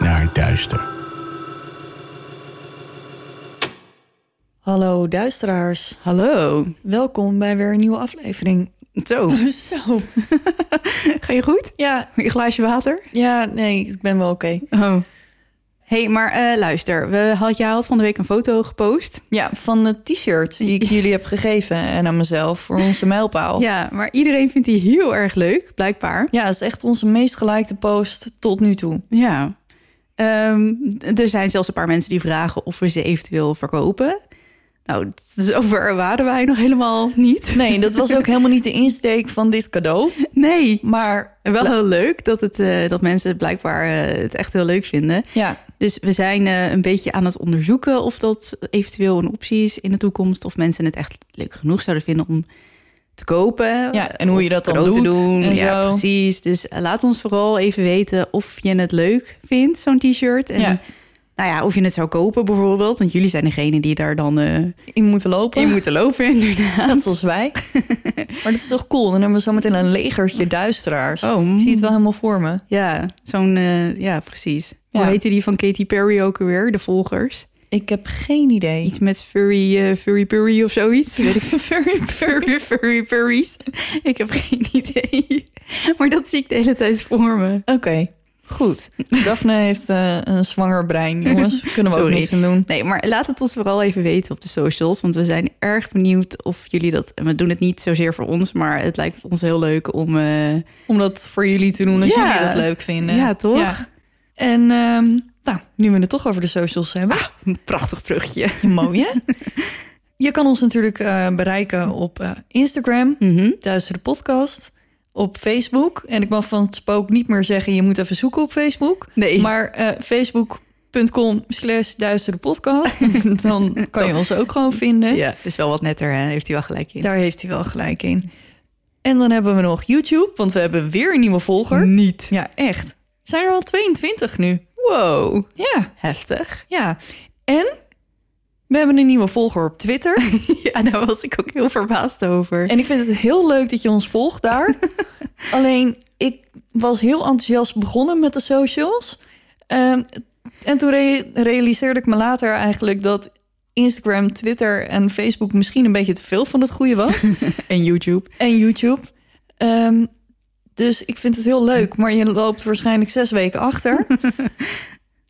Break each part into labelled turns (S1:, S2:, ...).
S1: Naar duister.
S2: Hallo duisteraars.
S3: Hallo.
S2: Welkom bij weer een nieuwe aflevering.
S3: Zo,
S2: Zo.
S3: ga je goed?
S2: Ja,
S3: Je glaasje water?
S2: ja, nee, ik ben wel oké.
S3: Oh. hey, maar eh, luister. We had, jij had van de week een foto gepost.
S2: Ja, van de t-shirt die ik jullie heb gegeven en aan mezelf voor onze mijlpaal.
S3: Ja, maar iedereen vindt die heel erg leuk, blijkbaar.
S2: Ja, het is echt onze meest gelikte post tot nu toe.
S3: Ja. Ehm, d- er zijn zelfs een paar mensen die vragen of we ze eventueel verkopen. Nou, d- zover waren wij nog helemaal niet.
S2: Nee, dat was ook helemaal niet de insteek van dit cadeau.
S3: Nee.
S2: Maar
S3: Wel heel leuk dat, het, eh, dat mensen het blijkbaar eh, het echt heel leuk vinden.
S2: ja,
S3: Dus we zijn eh, een beetje aan het onderzoeken of dat eventueel een optie is in de toekomst. Of mensen het echt leuk genoeg zouden vinden om te kopen.
S2: Ja, en hoe
S3: Of
S2: je dat dan
S3: cadeau te
S2: doet
S3: doen.
S2: en
S3: ja,
S2: zo.
S3: precies. Dus eh, laat ons vooral even weten of je het leuk vindt, zo'n t-shirt. En
S2: Ja.
S3: nou ja, of je het zou kopen bijvoorbeeld. Want jullie zijn degene die daar dan eh,
S2: in moeten lopen.
S3: in moeten lopen inderdaad.
S2: Net zoals wij. maar dat is toch cool? Dan hebben we zo meteen een legertje duisteraars.
S3: Oh, mm.
S2: Ik zie het wel helemaal voor me.
S3: Ja, zo'n, eh, ja, precies. Hoe
S2: Ja.
S3: heette die van Katy Perry ook alweer, de volgers?
S2: Ik heb geen idee.
S3: Iets met furry, eh, furry purry of zoiets. Weet ik furry, furry, furry purries. Ik heb geen idee. Maar dat zie ik de hele tijd voor me.
S2: Oké, goed. Daphne heeft eh, een zwanger brein, jongens. Kunnen we
S3: Sorry.
S2: ook niks aan doen.
S3: Nee, maar laat het ons vooral even weten op de socials. Want we zijn erg benieuwd of jullie dat... En we doen het niet zozeer voor ons, maar het lijkt ons heel leuk om... eh,
S2: Om dat voor jullie te doen, als
S3: Ja.
S2: jullie dat leuk vinden.
S3: Ja, toch?
S2: En ehm, nou, nu we het toch over de socials hebben.
S3: een prachtig vruchtje.
S2: Mooi, hè? Je kan ons natuurlijk eh, bereiken op eh, Instagram,
S3: Mhm.
S2: Duistere Podcast, op Facebook. En ik mag van het spook niet meer zeggen, je moet even zoeken op Facebook.
S3: Nee.
S2: Maar eh, facebook.com slash Duistere Podcast. Dan kan je ons ook gewoon vinden.
S3: Ja, is wel wat netter, hè? Heeft hij wel gelijk in.
S2: Daar heeft hij wel gelijk in. En dan hebben we nog YouTube, want we hebben weer een nieuwe volger.
S3: Niet.
S2: Ja, echt. Zijn er al 22 nu?
S3: Wow.
S2: Ja,
S3: Heftig.
S2: ja. En we hebben een nieuwe volger op Twitter.
S3: Ja, daar was ik ook heel verbaasd over.
S2: En ik vind het heel leuk dat je ons volgt daar. Alleen, ik was heel enthousiast begonnen met de socials. Ehm, en toen re- realiseerde ik me later eigenlijk dat Instagram, Twitter en Facebook misschien een beetje te veel van het goede was.
S3: en YouTube.
S2: en YouTube. Ehm, dus ik vind het heel leuk, maar je loopt waarschijnlijk zes weken achter.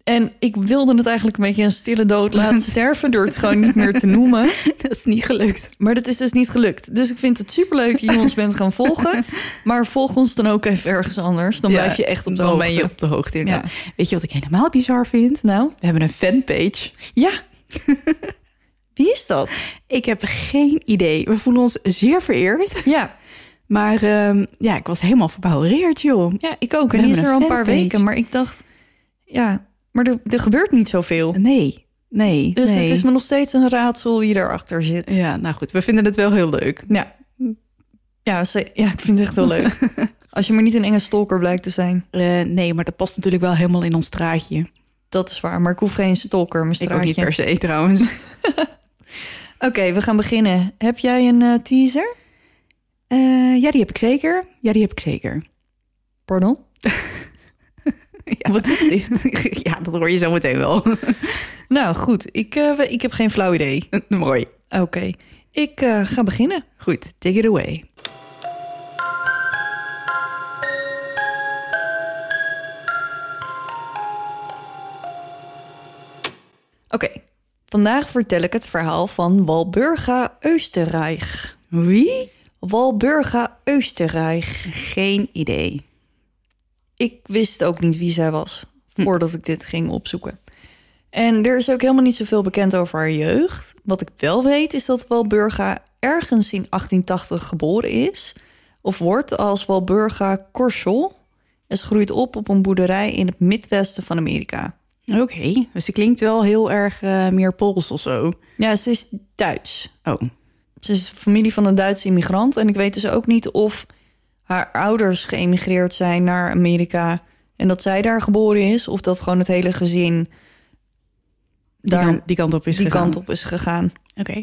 S2: en ik wilde het eigenlijk een beetje een stille dood laten sterven door het gewoon niet meer te noemen.
S3: Dat is niet gelukt.
S2: Maar dat is dus niet gelukt. Dus ik vind het superleuk dat je ons bent gaan volgen. Maar volg ons dan ook even ergens anders. Dan blijf je echt op de
S3: dan
S2: hoogte.
S3: ben je op de hoogte, inderdaad. Weet je wat ik helemaal bizar vind?
S2: Nou,
S3: We hebben een fanpage.
S2: ja. Wie is dat?
S3: Ik heb geen idee. We voelen ons zeer vereerd.
S2: Ja,
S3: Maar ehm, ja, ik was helemaal verbouwereerd, joh.
S2: ja ik ook.
S3: We
S2: En die
S3: hebben
S2: is er
S3: een
S2: al een paar
S3: fanpage.
S2: weken. Maar ik dacht, ja, maar er, er gebeurt niet zoveel.
S3: Nee, nee,
S2: Dus
S3: nee.
S2: het is me nog steeds een raadsel wie erachter zit. Ja,
S3: Ja, nou goed. We vinden het wel heel leuk.
S2: ja. ze- ja ik vind het echt heel leuk. Als je maar niet een enge stalker blijkt te zijn.
S3: Eh, nee, maar dat past natuurlijk wel helemaal in ons straatje.
S2: Dat is waar, maar ik hoef geen stalker, mijn
S3: Ik ook niet
S2: straatje.
S3: per se trouwens.
S2: Oké, we gaan beginnen. Heb jij een eh, teaser?
S3: Eh, ja, die heb ik zeker. Ja, die heb ik zeker.
S2: Pardon?
S3: Ja.
S2: Wat is dit?
S3: ja, dat hoor je zo meteen wel.
S2: nou goed, ik, eh, we- ik heb geen flauw idee.
S3: Mooi.
S2: Oké, ik eh, ga beginnen.
S3: Goed, take it away.
S2: Oké, vandaag vertel ik het verhaal van Walburga Oostenrijk.
S3: Wie?
S2: Walburga Oostenrijk.
S3: Geen idee.
S2: Ik wist ook niet wie zij was voordat ik dit ging opzoeken. En er is ook helemaal niet zoveel bekend over haar jeugd. Wat ik wel weet is dat Walburga ergens in 1880 geboren is. Of wordt als Walburga Corschel. En ze groeit op op een boerderij in het midwesten van Amerika.
S3: Oké, dus ze klinkt wel heel erg eh, meer Pools of zo.
S2: Ja, ze is Duits.
S3: Oh,
S2: Ze is familie van een Duitse immigrant. En ik weet dus ook niet of haar ouders geëmigreerd zijn naar Amerika. En dat zij daar geboren is. Of dat gewoon het hele gezin
S3: die,
S2: Daar-
S3: kant, die kant op is
S2: die
S3: gegaan.
S2: kant op is gegaan.
S3: Oké.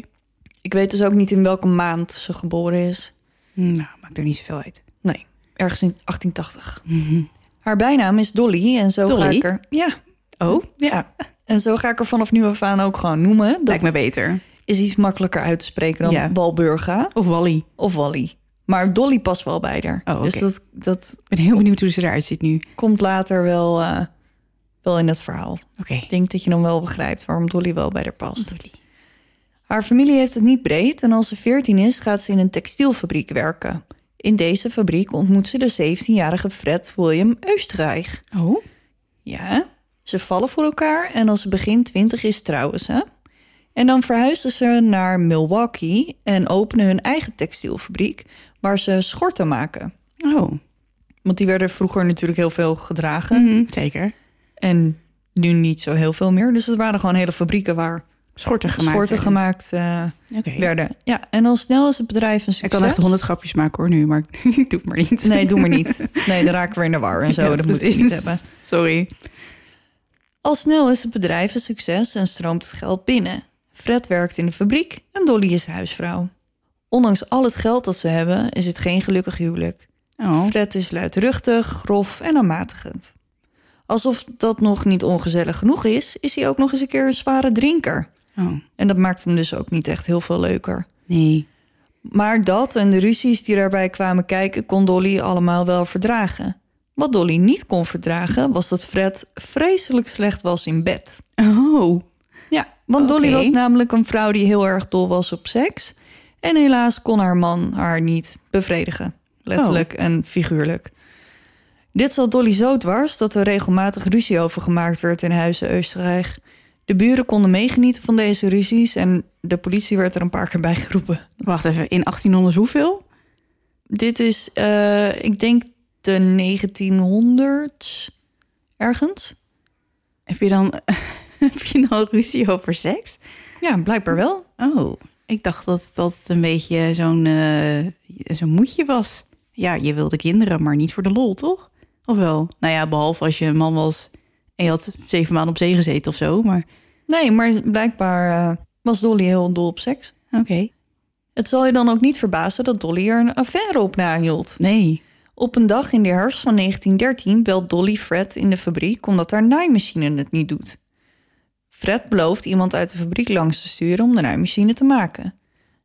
S2: Ik weet dus ook niet in welke maand ze geboren is.
S3: Nou, maakt er niet zoveel uit.
S2: Nee, ergens in 1880. Haar bijnaam is Dolly. En zo ga
S3: Mhm. Dolly?
S2: ik er. Ja,
S3: Oh,
S2: ja. En zo ga ik er vanaf nu af aan ook gewoon noemen. Dat
S3: lijkt me beter.
S2: is iets makkelijker uit te spreken dan
S3: Ja.
S2: Walburga
S3: Of Wally.
S2: of Wally. Maar Dolly past wel bij haar.
S3: Oh,
S2: Dus
S3: oké.
S2: dat, dat
S3: Ik ben heel benieuwd hoe ze eruit ziet nu.
S2: komt later wel, eh, wel in het verhaal.
S3: Oké.
S2: Ik denk dat je dan wel begrijpt waarom Dolly wel bij haar past.
S3: Dolly.
S2: Haar familie heeft het niet breed en als ze 14 is, gaat ze in een textielfabriek werken. In deze fabriek ontmoet ze de 17-jarige Fred William Oostenrijk.
S3: Oh,
S2: Ja, ze vallen voor elkaar en als ze begin 20 is trouwen ze. En dan verhuizen ze naar Milwaukee en openen hun eigen textielfabriek waar ze schorten maken.
S3: oh.
S2: Want die werden vroeger natuurlijk heel veel gedragen.
S3: Mhm, zeker.
S2: En nu niet zo heel veel meer. Dus het waren gewoon hele fabrieken waar
S3: Schorten gemaakt.
S2: schorten
S3: werden.
S2: gemaakt eh,
S3: Oké.
S2: werden. Ja, en al snel is het bedrijf een
S3: Ik
S2: succes.
S3: kan echt honderd grapjes maken hoor nu, maar ik doe het maar niet.
S2: Nee, doe maar niet. Nee, dan raken we in de war en zo.
S3: Ja,
S2: dat moet ik
S3: precies.
S2: niet hebben.
S3: Sorry.
S2: Al snel is het bedrijf een succes en stroomt het geld binnen. Fred werkt in de fabriek en Dolly is huisvrouw. Ondanks al het geld dat ze hebben, is het geen gelukkig huwelijk.
S3: Oh.
S2: Fred is luidruchtig, grof en aanmatigend. Alsof dat nog niet ongezellig genoeg is, is hij ook nog eens een keer een zware drinker.
S3: oh.
S2: En dat maakt hem dus ook niet echt heel veel leuker.
S3: Nee.
S2: Maar dat en de ruzies die daarbij kwamen kijken, kon Dolly allemaal wel verdragen. Wat Dolly niet kon verdragen, was dat Fred vreselijk slecht was in bed.
S3: Oh.
S2: Ja, want Dolly
S3: Oké.
S2: was namelijk een vrouw die heel erg dol was op seks. En helaas kon haar man haar niet bevredigen. Letterlijk en figuurlijk. Dit zat Dolly zo dwars dat er regelmatig ruzie over gemaakt werd in huizen Oostenrijk. De buren konden meegenieten van deze ruzies en de politie werd er een paar keer bij geroepen.
S3: Wacht even, in 1800 hoeveel?
S2: Dit is, eh, ik denk, de 1900 ergens.
S3: Heb je dan, heb je dan ruzie over seks?
S2: Ja, blijkbaar wel.
S3: Oh, ik dacht dat dat een beetje zo'n eh, zo'n moedje was. Ja, je wilde kinderen, maar niet voor de lol, toch? Of wel? Nou ja, behalve als je een man was en je had zeven maanden op zee gezeten of zo. Maar
S2: Nee, maar blijkbaar eh, was Dolly heel dol op seks.
S3: oké,
S2: Het zal je dan ook niet verbazen dat Dolly er een affaire op nahield.
S3: nee.
S2: Op een dag in de herfst van 1913 belt Dolly Fred in de fabriek omdat haar naaimachine het niet doet. Fred belooft iemand uit de fabriek langs te sturen om de naaimachine te maken.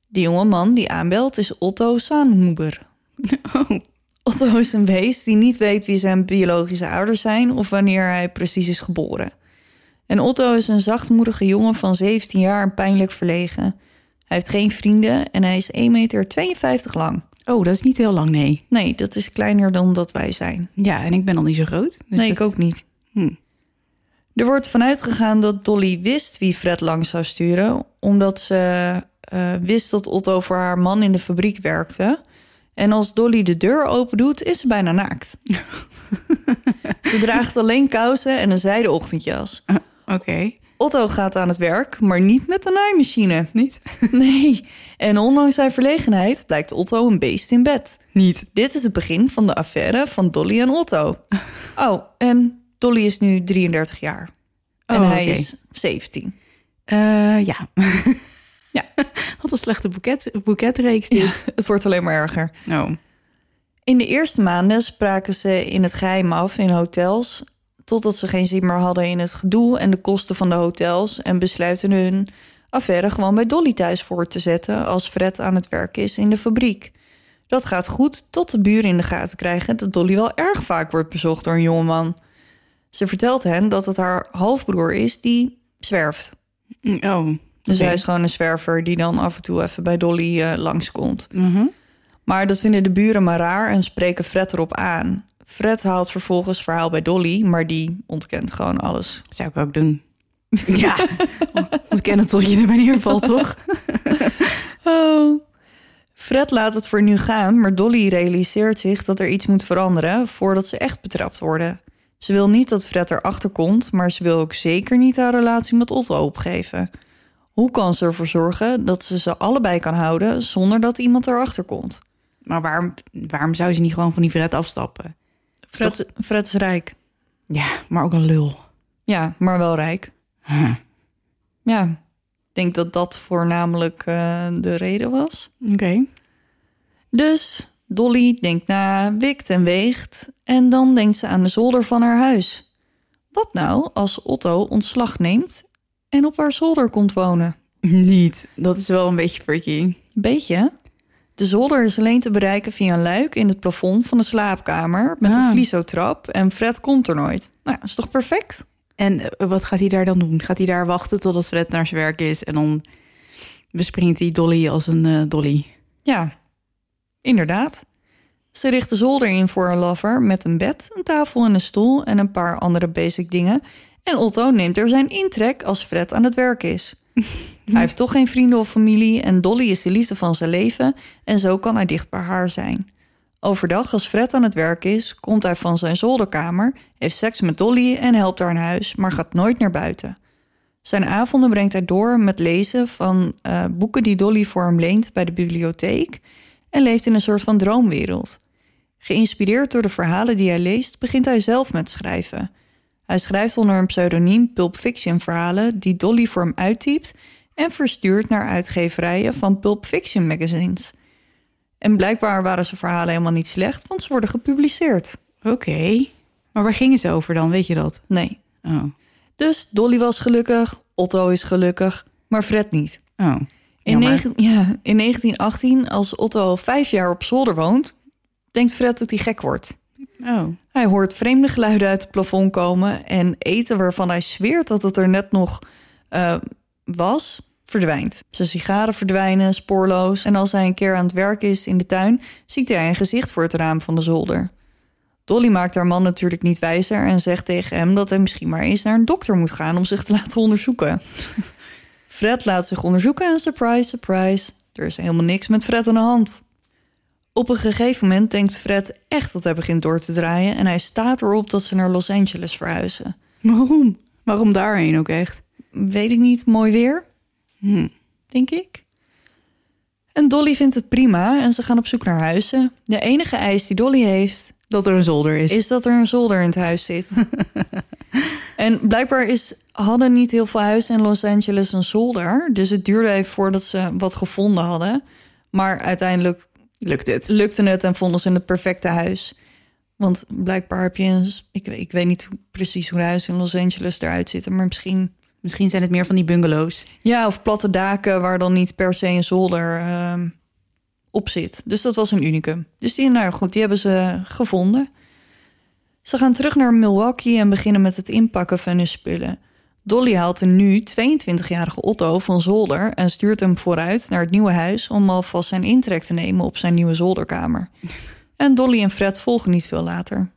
S2: De jonge man die aanbelt is Otto Saanhuber.
S3: Oh,
S2: Otto is een wees die niet weet wie zijn biologische ouders zijn of wanneer hij precies is geboren. En Otto is een zachtmoedige jongen van 17 jaar en pijnlijk verlegen. Hij heeft geen vrienden en hij is 1,52 meter lang.
S3: oh dat is niet heel lang, nee.
S2: Nee, dat is kleiner dan dat wij zijn.
S3: Ja, en ik ben al niet zo groot. Dus
S2: nee, ik
S3: dat-
S2: ook niet.
S3: Hm.
S2: Er wordt vanuit gegaan dat Dolly wist wie Fred lang zou sturen, omdat ze eh, wist dat Otto voor haar man in de fabriek werkte. En als Dolly de deur open doet, is ze bijna naakt. ze draagt alleen kousen en een zijden ochtendjas.
S3: Oké.
S2: Otto gaat aan het werk, maar niet met de naaimachine.
S3: Niet?
S2: Nee, en ondanks zijn verlegenheid blijkt Otto een beest in bed.
S3: Niet.
S2: Dit is het begin van de affaire van Dolly en Otto. Oh, en Dolly is nu 33 jaar. En
S3: Oh,
S2: hij
S3: oké.
S2: is 17.
S3: Eh, ja.
S2: Ja.
S3: Wat een slechte boeket, boeketreeks dit.
S2: Het wordt alleen maar erger.
S3: Oh.
S2: In de eerste maanden spraken ze in het geheim af in hotels. Totdat ze geen zin meer hadden in het gedoe en de kosten van de hotels. En besluiten hun affaire gewoon bij Dolly thuis voor te zetten. als Fred aan het werk is in de fabriek. Dat gaat goed tot de buren in de gaten krijgen dat Dolly wel erg vaak wordt bezocht door een jongeman. Ze vertelt hen dat het haar halfbroer is die zwerft.
S3: Oh.
S2: Dus
S3: Oké.
S2: hij is gewoon een zwerver die dan af en toe even bij Dolly eh, langskomt.
S3: Mhm.
S2: Maar dat vinden de buren maar raar en spreken Fred erop aan. Fred haalt vervolgens verhaal bij Dolly, maar die ontkent gewoon alles.
S3: Zou ik ook doen. ja. Ontkennen tot je er neervalt, toch?
S2: Oh. Fred laat het voor nu gaan, maar Dolly realiseert zich dat er iets moet veranderen voordat ze echt betrapt worden. Ze wil niet dat Fred erachter komt, maar ze wil ook zeker niet haar relatie met Otto opgeven. Hoe kan ze ervoor zorgen dat ze ze allebei kan houden zonder dat iemand erachter komt?
S3: Maar waarom, waarom zou ze niet gewoon van die Fred afstappen?
S2: Fred, Fred is rijk.
S3: Ja, maar ook een lul.
S2: Ja, maar wel rijk.
S3: Huh.
S2: Ja, ik denk dat dat voornamelijk eh, de reden was.
S3: Oké.
S2: Dus Dolly denkt na, wikt en weegt. En dan denkt ze aan de zolder van haar huis. Wat nou als Otto ontslag neemt en op haar zolder komt wonen?
S3: Niet. Dat is wel een beetje freaky.
S2: Beetje, hè? De zolder is alleen te bereiken via een luik in het plafond van de slaapkamer... met
S3: Ah.
S2: een vliezotrap en Fred komt er nooit. Nou, is toch perfect?
S3: En eh, wat gaat hij daar dan doen? Gaat hij daar wachten totdat Fred naar zijn werk is en dan bespringt hij Dolly als een eh, Dolly?
S2: Ja, inderdaad. Ze richt de zolder in voor haar lover met een bed, een tafel en een stoel en een paar andere basic dingen. En Otto neemt er zijn intrek als Fred aan het werk is. Hij heeft toch geen vrienden of familie en Dolly is de liefde van zijn leven en zo kan hij dicht bij haar zijn. Overdag als Fred aan het werk is, komt hij van zijn zolderkamer, heeft seks met Dolly en helpt haar in huis, maar gaat nooit naar buiten. Zijn avonden brengt hij door met lezen van eh, boeken die Dolly voor hem leent bij de bibliotheek en leeft in een soort van droomwereld. Geïnspireerd door de verhalen die hij leest, begint hij zelf met schrijven. Hij schrijft onder een pseudoniem pulp fiction verhalen die Dolly voor hem uittypt en verstuurt naar uitgeverijen van pulp fiction magazines. En blijkbaar waren zijn verhalen helemaal niet slecht, want ze worden gepubliceerd.
S3: Oké. Maar waar gingen ze over dan? Weet je dat?
S2: Nee.
S3: Oh.
S2: Dus Dolly was gelukkig, Otto is gelukkig, maar Fred niet.
S3: Oh.
S2: In,
S3: Jammer.
S2: negen- ja, in 1918, als Otto vijf jaar op zolder woont, denkt Fred dat hij gek wordt.
S3: Oh.
S2: Hij hoort vreemde geluiden uit het plafond komen en eten waarvan hij zweert dat het er net nog eh, was, verdwijnt. Zijn sigaren verdwijnen spoorloos en als hij een keer aan het werk is in de tuin, ziet hij een gezicht voor het raam van de zolder. Dolly maakt haar man natuurlijk niet wijzer en zegt tegen hem dat hij misschien maar eens naar een dokter moet gaan om zich te laten onderzoeken. Fred laat zich onderzoeken en surprise, surprise, er is helemaal niks met Fred aan de hand. Op een gegeven moment denkt Fred echt dat hij begint door te draaien en hij staat erop dat ze naar Los Angeles verhuizen.
S3: Waarom? Waarom daarheen ook echt?
S2: Weet ik niet, mooi weer,
S3: Hm.
S2: denk ik. En Dolly vindt het prima en ze gaan op zoek naar huizen. De enige eis die Dolly heeft
S3: Dat er een zolder is.
S2: is dat er een zolder in het huis zit. en blijkbaar is, hadden niet heel veel huizen in Los Angeles een zolder, dus het duurde even voordat ze wat gevonden hadden. Maar uiteindelijk
S3: Lukt het?
S2: lukte het en vonden ze het perfecte huis. Want blijkbaar heb je een... Ik, ik weet niet hoe- precies hoe de huizen in Los Angeles eruit zitten... maar misschien...
S3: Misschien zijn het meer van die bungalows.
S2: Ja, of platte daken waar dan niet per se een zolder ehm, op zit. Dus dat was een unicum. Dus die, nou goed, die hebben ze gevonden. Ze gaan terug naar Milwaukee en beginnen met het inpakken van hun spullen. Dolly haalt de nu 22-jarige Otto van zolder... en stuurt hem vooruit naar het nieuwe huis... om alvast zijn intrek te nemen op zijn nieuwe zolderkamer. En Dolly en Fred volgen niet veel later.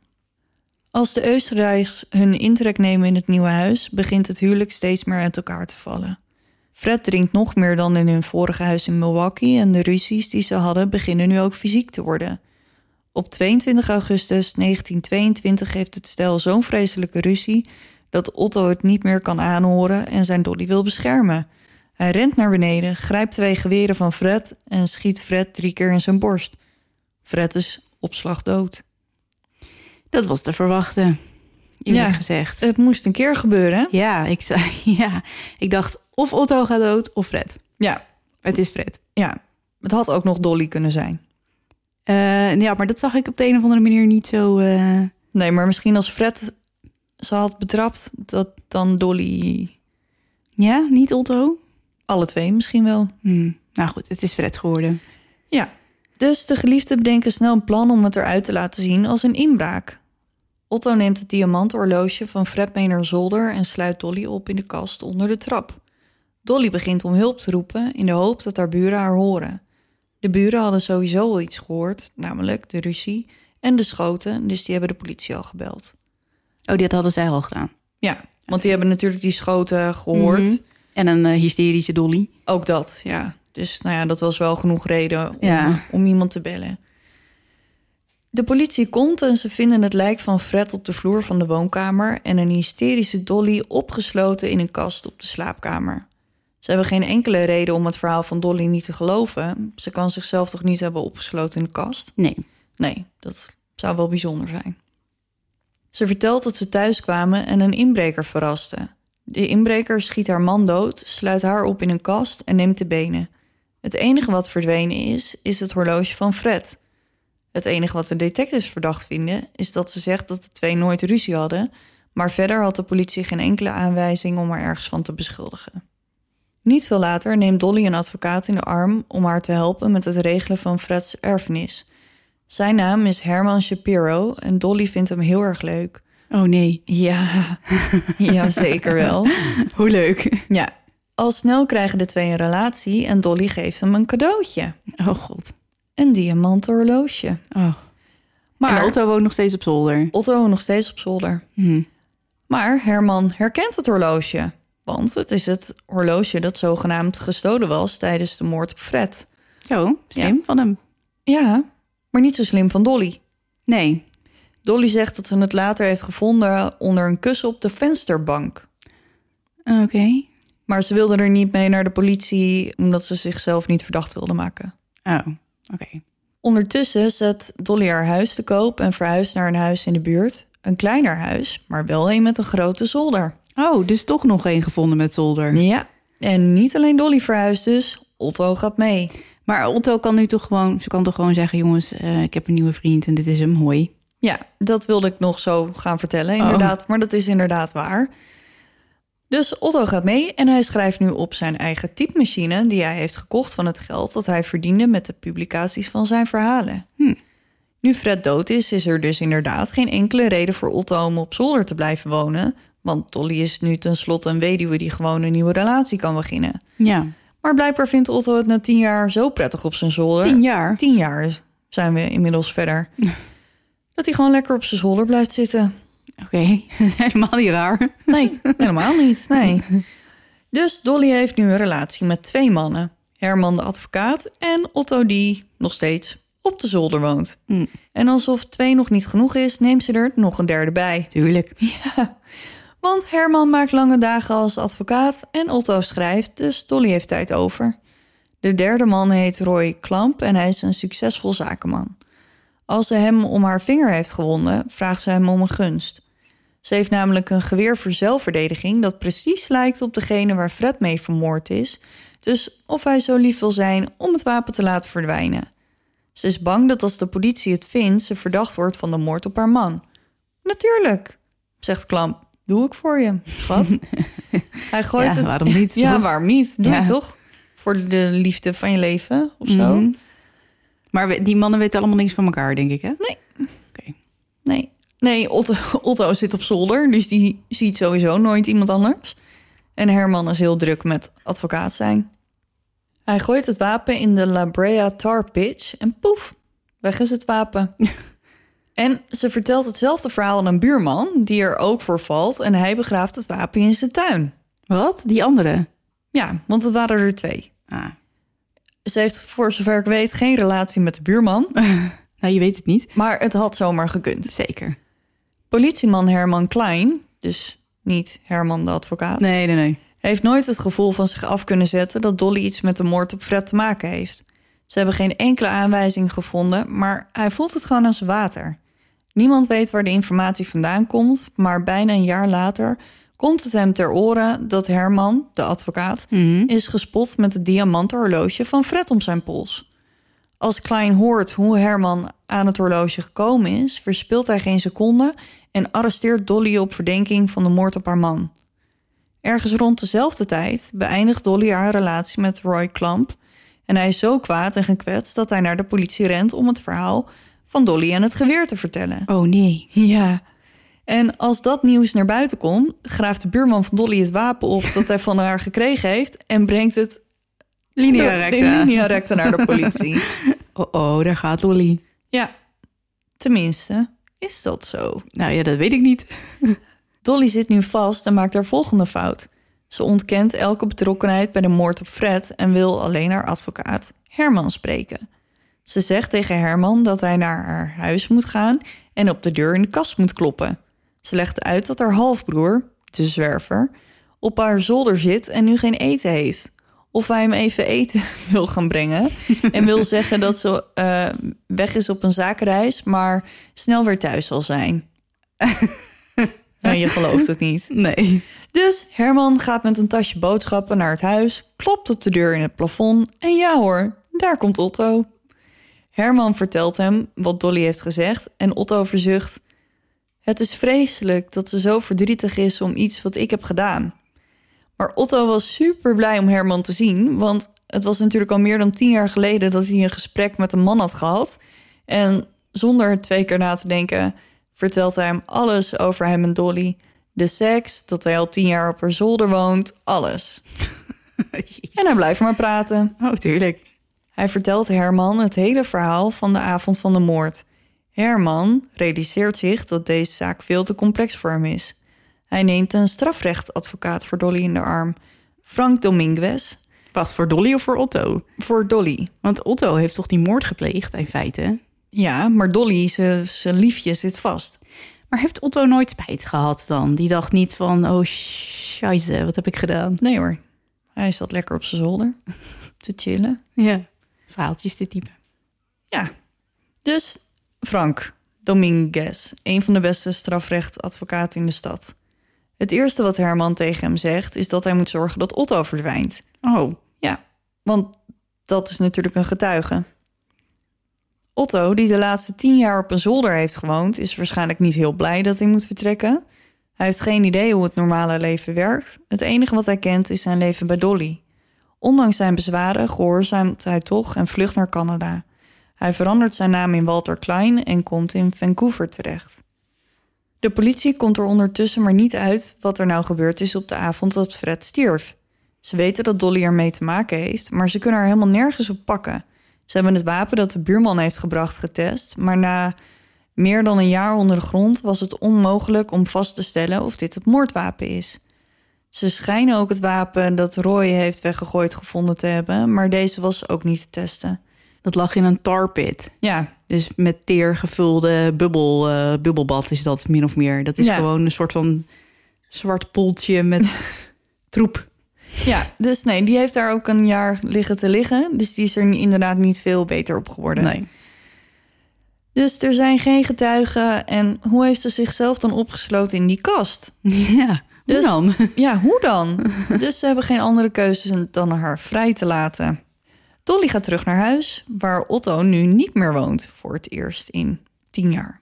S2: Als de Oostenrijks hun intrek nemen in het nieuwe huis... begint het huwelijk steeds meer uit elkaar te vallen. Fred drinkt nog meer dan in hun vorige huis in Milwaukee... en de ruzies die ze hadden beginnen nu ook fysiek te worden. Op 22 augustus 1922 heeft het stel zo'n vreselijke ruzie... dat Otto het niet meer kan aanhoren en zijn Dolly wil beschermen. Hij rent naar beneden, grijpt twee geweren van Fred... en schiet Fred drie keer in zijn borst. Fred is op slag dood.
S3: Dat was te verwachten. eerlijk
S2: Ja.
S3: gezegd.
S2: Het moest een keer gebeuren. hè?
S3: Ja ik, zei, ja, ik dacht of Otto gaat dood of Fred.
S2: Ja,
S3: Het is Fred.
S2: ja. Het had ook nog Dolly kunnen zijn.
S3: Eh, ja, maar dat zag ik op de een of andere manier niet zo... eh,
S2: Nee, maar misschien als Fred ze had betrapt, dat dan Dolly.
S3: Ja, niet Otto?
S2: Alle twee misschien wel.
S3: Hm, Nou goed, het is Fred geworden.
S2: Ja. Dus de geliefden bedenken snel een plan om het eruit te laten zien als een inbraak. Otto neemt het diamanthorloge van Fred mee naar zolder en sluit Dolly op in de kast onder de trap. Dolly begint om hulp te roepen in de hoop dat haar buren haar horen. De buren hadden sowieso al iets gehoord, namelijk de ruzie en de schoten, dus die hebben de politie al gebeld.
S3: Oh, dat hadden zij al gedaan.
S2: Ja, want die hebben natuurlijk die schoten gehoord.
S3: Mhm. En een eh, hysterische Dolly.
S2: Ook dat, ja. Dus nou ja, dat was wel genoeg reden om,
S3: Ja.
S2: om iemand te bellen. De politie komt en ze vinden het lijk van Fred op de vloer van de woonkamer en een hysterische Dolly opgesloten in een kast op de slaapkamer. Ze hebben geen enkele reden om het verhaal van Dolly niet te geloven. Ze kan zichzelf toch niet hebben opgesloten in de kast?
S3: Nee.
S2: Nee, dat zou wel bijzonder zijn. Ze vertelt dat ze thuis kwamen en een inbreker verraste. De inbreker schiet haar man dood, sluit haar op in een kast en neemt de benen. Het enige wat verdwenen is, is het horloge van Fred. Het enige wat de detectives verdacht vinden, is dat ze zegt dat de twee nooit ruzie hadden, maar verder had de politie geen enkele aanwijzing om haar ergens van te beschuldigen. Niet veel later neemt Dolly een advocaat in de arm om haar te helpen met het regelen van Freds erfenis. Zijn naam is Herman Shapiro en Dolly vindt hem heel erg leuk.
S3: Oh nee.
S2: Ja, ja zeker wel.
S3: Hoe leuk.
S2: Ja. Al snel krijgen de twee een relatie en Dolly geeft hem een cadeautje.
S3: Oh god.
S2: Een diamanten horloge.
S3: Oh.
S2: Maar
S3: En Otto woont nog steeds op zolder.
S2: Otto nog steeds op zolder.
S3: Hm.
S2: Maar Herman herkent het horloge. Want het is het horloge dat zogenaamd gestolen was tijdens de moord op Fred.
S3: Zo, slim van hem.
S2: Ja, maar niet zo slim van Dolly.
S3: Nee.
S2: Dolly zegt dat ze het later heeft gevonden onder een kussen op de vensterbank.
S3: Oké.
S2: Maar ze wilde er niet mee naar de politie omdat ze zichzelf niet verdacht wilde maken.
S3: Oh, oké.
S2: Ondertussen zet Dolly haar huis te koop en verhuist naar een huis in de buurt. Een kleiner huis, maar wel een met een grote zolder.
S3: Oh, dus toch nog één gevonden met zolder.
S2: Ja, en niet alleen Dolly verhuist dus, Otto gaat mee.
S3: Maar Otto kan nu toch gewoon... Ze kan toch gewoon zeggen... Jongens, eh, ik heb een nieuwe vriend en dit is hem. Hoi.
S2: Ja, dat wilde ik nog zo gaan vertellen, inderdaad. Maar dat is inderdaad waar. Dus Otto gaat mee en hij schrijft nu op zijn eigen typemachine... die hij heeft gekocht van het geld dat hij verdiende... met de publicaties van zijn verhalen. Nu Fred dood is, is er dus inderdaad geen enkele reden voor Otto... om op zolder te blijven wonen. Want Dolly is nu tenslotte een weduwe die gewoon een nieuwe relatie kan beginnen.
S3: Ja.
S2: Maar blijkbaar vindt Otto het na tien jaar zo prettig op zijn zolder...
S3: Tien jaar.
S2: Tien jaar zijn we inmiddels verder. dat hij gewoon lekker op zijn zolder blijft zitten.
S3: Oké. Dat is helemaal niet raar.
S2: Nee, helemaal niet. Nee. Dus Dolly heeft nu een relatie met twee mannen. Herman de advocaat en Otto die nog steeds op de zolder woont.
S3: Mm.
S2: En alsof twee nog niet genoeg is, neemt ze er nog een derde bij.
S3: Tuurlijk.
S2: Want Herman maakt lange dagen als advocaat en Otto schrijft, dus Dolly heeft tijd over. De derde man heet Roy Klamp en hij is een succesvol zakenman. Als ze hem om haar vinger heeft gewonden, vraagt ze hem om een gunst. Ze heeft namelijk een geweer voor zelfverdediging dat precies lijkt op degene waar Fred mee vermoord is. Dus of hij zo lief wil zijn om het wapen te laten verdwijnen. Ze is bang dat als de politie het vindt, ze verdacht wordt van de moord op haar man. Natuurlijk, zegt Klamp. Doe ik voor je. Wat? hij gooit
S3: Ja,
S2: het.
S3: waarom niet,
S2: Ja,
S3: toch?
S2: waarom niet? Doe
S3: Ja.
S2: je toch? Voor de liefde van je leven of zo?
S3: Mhm. Maar we- die mannen weten allemaal niks van elkaar, denk ik, hè?
S2: Nee.
S3: Oké.
S2: Nee. Nee, Otto, Otto zit op zolder, dus die ziet sowieso nooit iemand anders. En Herman is heel druk met advocaat zijn. Hij gooit het wapen in de La Brea tar pitch en poef, weg is het wapen. en ze vertelt hetzelfde verhaal aan een buurman, die er ook voor valt... en hij begraaft het wapen in zijn tuin.
S3: Wat? Die andere?
S2: Ja, want het waren er twee.
S3: Ah.
S2: Ze heeft voor zover ik weet geen relatie met de buurman...
S3: Nou, je weet het niet.
S2: maar het had zomaar gekund.
S3: Zeker.
S2: Politieman Herman Klein, dus niet Herman de advocaat,
S3: Nee, nee, nee.
S2: heeft nooit het gevoel van zich af kunnen zetten dat Dolly iets met de moord op Fred te maken heeft. Ze hebben geen enkele aanwijzing gevonden, maar hij voelt het gewoon als water. Niemand weet waar de informatie vandaan komt, maar bijna een jaar later komt het hem ter oren dat Herman, de advocaat, is gespot met het diamanten horloge van Fred om zijn pols. Als Klein hoort hoe Herman aan het horloge gekomen is, verspilt hij geen seconde en arresteert Dolly op verdenking van de moord op haar man. Ergens rond dezelfde tijd beëindigt Dolly haar relatie met Roy Clamp. En hij is zo kwaad en gekwetst dat hij naar de politie rent om het verhaal van Dolly en het geweer te vertellen.
S3: Oh nee.
S2: Ja. En als dat nieuws naar buiten komt, graaft de buurman van Dolly het wapen op dat hij van haar gekregen heeft en brengt het
S3: Linea
S2: in
S3: recta.
S2: linea recta naar de politie.
S3: Oh, oh, daar gaat Lolly.
S2: ja, tenminste, is dat zo?
S3: Nou ja, dat weet ik niet.
S2: Dolly zit nu vast en maakt haar volgende fout. Ze ontkent elke betrokkenheid bij de moord op Fred en wil alleen haar advocaat Herman spreken. Ze zegt tegen Herman dat hij naar haar huis moet gaan en op de deur in de kast moet kloppen. Ze legt uit dat haar halfbroer, de zwerver, op haar zolder zit en nu geen eten heeft. Of hij hem even eten wil gaan brengen. En wil zeggen dat ze eh, weg is op een zakenreis, maar snel weer thuis zal zijn. Nou, je gelooft het niet.
S3: Nee.
S2: Dus Herman gaat met een tasje boodschappen naar het huis, klopt op de deur in het plafond en ja hoor, daar komt Otto. Herman vertelt hem wat Dolly heeft gezegd en Otto verzucht: Het is vreselijk dat ze zo verdrietig is om iets wat ik heb gedaan. Maar Otto was super blij om Herman te zien, want het was natuurlijk al meer dan tien jaar geleden dat hij een gesprek met een man had gehad. En zonder twee keer na te denken, vertelt hij hem alles over hem en Dolly. De seks, dat hij al tien jaar op haar zolder woont, alles. En hij blijft maar praten.
S3: Oh, tuurlijk.
S2: Hij vertelt Herman het hele verhaal van de avond van de moord. Herman realiseert zich dat deze zaak veel te complex voor hem is. Hij neemt een strafrechtadvocaat voor Dolly in de arm, Frank Dominguez,
S3: Wacht, voor Dolly of voor Otto?
S2: voor Dolly.
S3: Want Otto heeft toch die moord gepleegd, in feite?
S2: Ja, maar Dolly, ze- zijn liefje, zit vast.
S3: Maar heeft Otto nooit spijt gehad dan? Die dacht niet van, oh, scheisse, wat heb ik gedaan?
S2: Nee hoor, hij zat lekker op zijn zolder te chillen.
S3: Ja. Verhaaltjes dit type.
S2: Ja, dus Frank Dominguez, een van de beste strafrechtadvocaten in de stad. Het eerste wat Herman tegen hem zegt is dat hij moet zorgen dat Otto verdwijnt.
S3: Oh,
S2: Ja, want dat is natuurlijk een getuige. Otto, die de laatste tien jaar op een zolder heeft gewoond, is waarschijnlijk niet heel blij dat hij moet vertrekken. Hij heeft geen idee hoe het normale leven werkt. Het enige wat hij kent is zijn leven bij Dolly. Ondanks zijn bezwaren gehoorzaamt hij toch en vlucht naar Canada. Hij verandert zijn naam in Walter Klein en komt in Vancouver terecht. De politie komt er ondertussen maar niet uit wat er nou gebeurd is op de avond dat Fred stierf. Ze weten dat Dolly ermee te maken heeft, maar ze kunnen haar helemaal nergens op pakken. Ze hebben het wapen dat de buurman heeft gebracht getest, maar na meer dan een jaar onder de grond was het onmogelijk om vast te stellen of dit het moordwapen is. Ze schijnen ook het wapen dat Roy heeft weggegooid gevonden te hebben, maar deze was ook niet te testen.
S3: dat lag in een tarpit.
S2: Ja,
S3: Dus met teer gevulde bubbel, eh, bubbelbad is dat min of meer. Dat is
S2: Ja.
S3: gewoon een soort van zwart poeltje met troep.
S2: ja, dus nee, die heeft daar ook een jaar liggen te liggen, dus die is er inderdaad niet veel beter op geworden.
S3: Nee.
S2: Dus er zijn geen getuigen en hoe heeft ze zichzelf dan opgesloten in die kast?
S3: Ja, hoe
S2: Dus-
S3: dan?
S2: Ja, hoe dan? dus ze hebben geen andere keuze dan haar vrij te laten. Dolly gaat terug naar huis, waar Otto nu niet meer woont voor het eerst in tien jaar.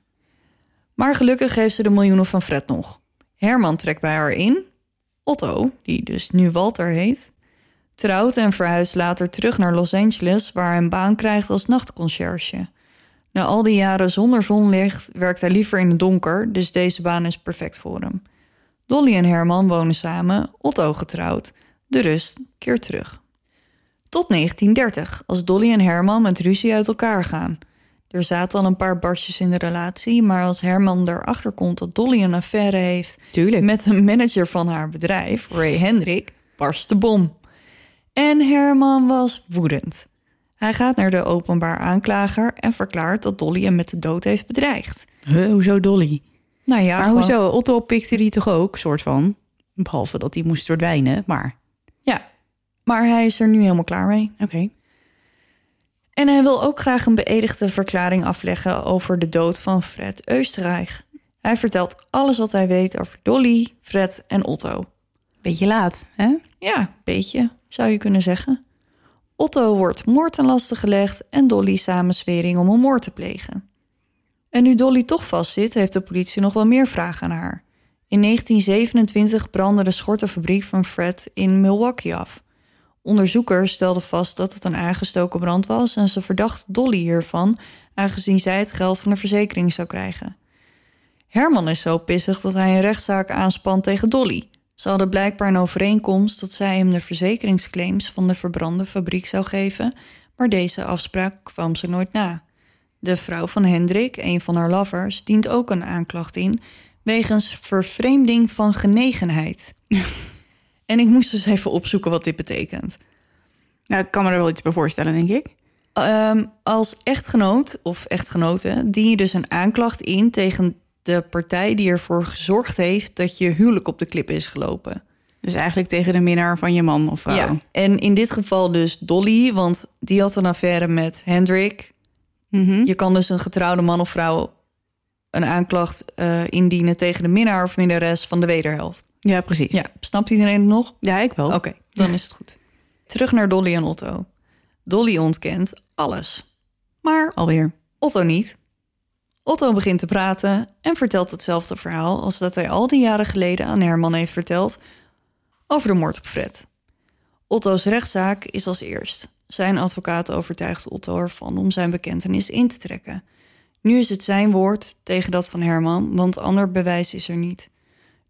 S2: Maar gelukkig heeft ze de miljoenen van Fred nog. Herman trekt bij haar in. Otto, die dus nu Walter heet, trouwt en verhuist later terug naar Los Angeles, waar hij een baan krijgt als nachtconciërge. Na al die jaren zonder zonlicht werkt hij liever in het donker, dus deze baan is perfect voor hem. Dolly en Herman wonen samen, Otto getrouwd. De rust keert terug. Tot 1930, als Dolly en Herman met ruzie uit elkaar gaan. Er zaten al een paar barstjes in de relatie, maar als Herman erachter komt dat Dolly een affaire heeft
S3: Tuurlijk.
S2: met een manager van haar bedrijf, Ray Hendrik, barst de bom. En Herman was woedend. Hij gaat naar de openbaar aanklager en verklaart dat Dolly hem met de dood heeft bedreigd.
S3: Huh, hoezo Dolly?
S2: Nou ja,
S3: maar
S2: gewoon-
S3: hoezo? Otto pikte die toch ook, soort van? Behalve dat hij moest verdwijnen, maar...
S2: Ja, maar hij is er nu helemaal klaar mee.
S3: Oké.
S2: En hij wil ook graag een beëdigde verklaring afleggen over de dood van Fred Oostenrijk. Hij vertelt alles wat hij weet over Dolly, Fred en Otto.
S3: Beetje laat, hè?
S2: Ja, beetje, zou je kunnen zeggen. Otto wordt moord ten laste gelegd en Dolly samenswering om een moord te plegen. En nu Dolly toch vastzit, heeft de politie nog wel meer vragen aan haar. In 1927 brandde de schortenfabriek van Fred in Milwaukee af. Onderzoekers stelden vast dat het een aangestoken brand was en ze verdacht Dolly hiervan, aangezien zij het geld van de verzekering zou krijgen. Herman is zo pissig dat hij een rechtszaak aanspant tegen Dolly. Ze hadden blijkbaar een overeenkomst dat zij hem de verzekeringsclaims van de verbrande fabriek zou geven, maar deze afspraak kwam ze nooit na. De vrouw van Hendrik, een van haar lovers, dient ook een aanklacht in wegens vervreemding van genegenheid. en ik moest dus even opzoeken wat dit betekent.
S3: Nou, ik kan me er wel iets bij voorstellen, denk ik.
S2: Ehm, als echtgenoot of echtgenote dien je dus een aanklacht in tegen de partij die ervoor gezorgd heeft dat je huwelijk op de klip is gelopen.
S3: Dus eigenlijk tegen de minnaar van je man of vrouw.
S2: Ja, en in dit geval dus Dolly, want die had een affaire met Hendrik.
S3: Mhm.
S2: Je kan dus een getrouwde man of vrouw een aanklacht eh, indienen tegen de minnaar of minnares van de wederhelft.
S3: ja precies.
S2: Ja, snapt iedereen het nog?
S3: Ja, ik wel.
S2: Oké, dan is het goed. Terug naar Dolly en Otto. Dolly ontkent alles, maar
S3: Alweer.
S2: Otto niet. Otto begint te praten en vertelt hetzelfde verhaal als dat hij al die jaren geleden aan Herman heeft verteld over de moord op Fred. Otto's rechtszaak is als eerst. Zijn advocaat overtuigt Otto ervan om zijn bekentenis in te trekken. Nu is het zijn woord tegen dat van Herman, want ander bewijs is er niet.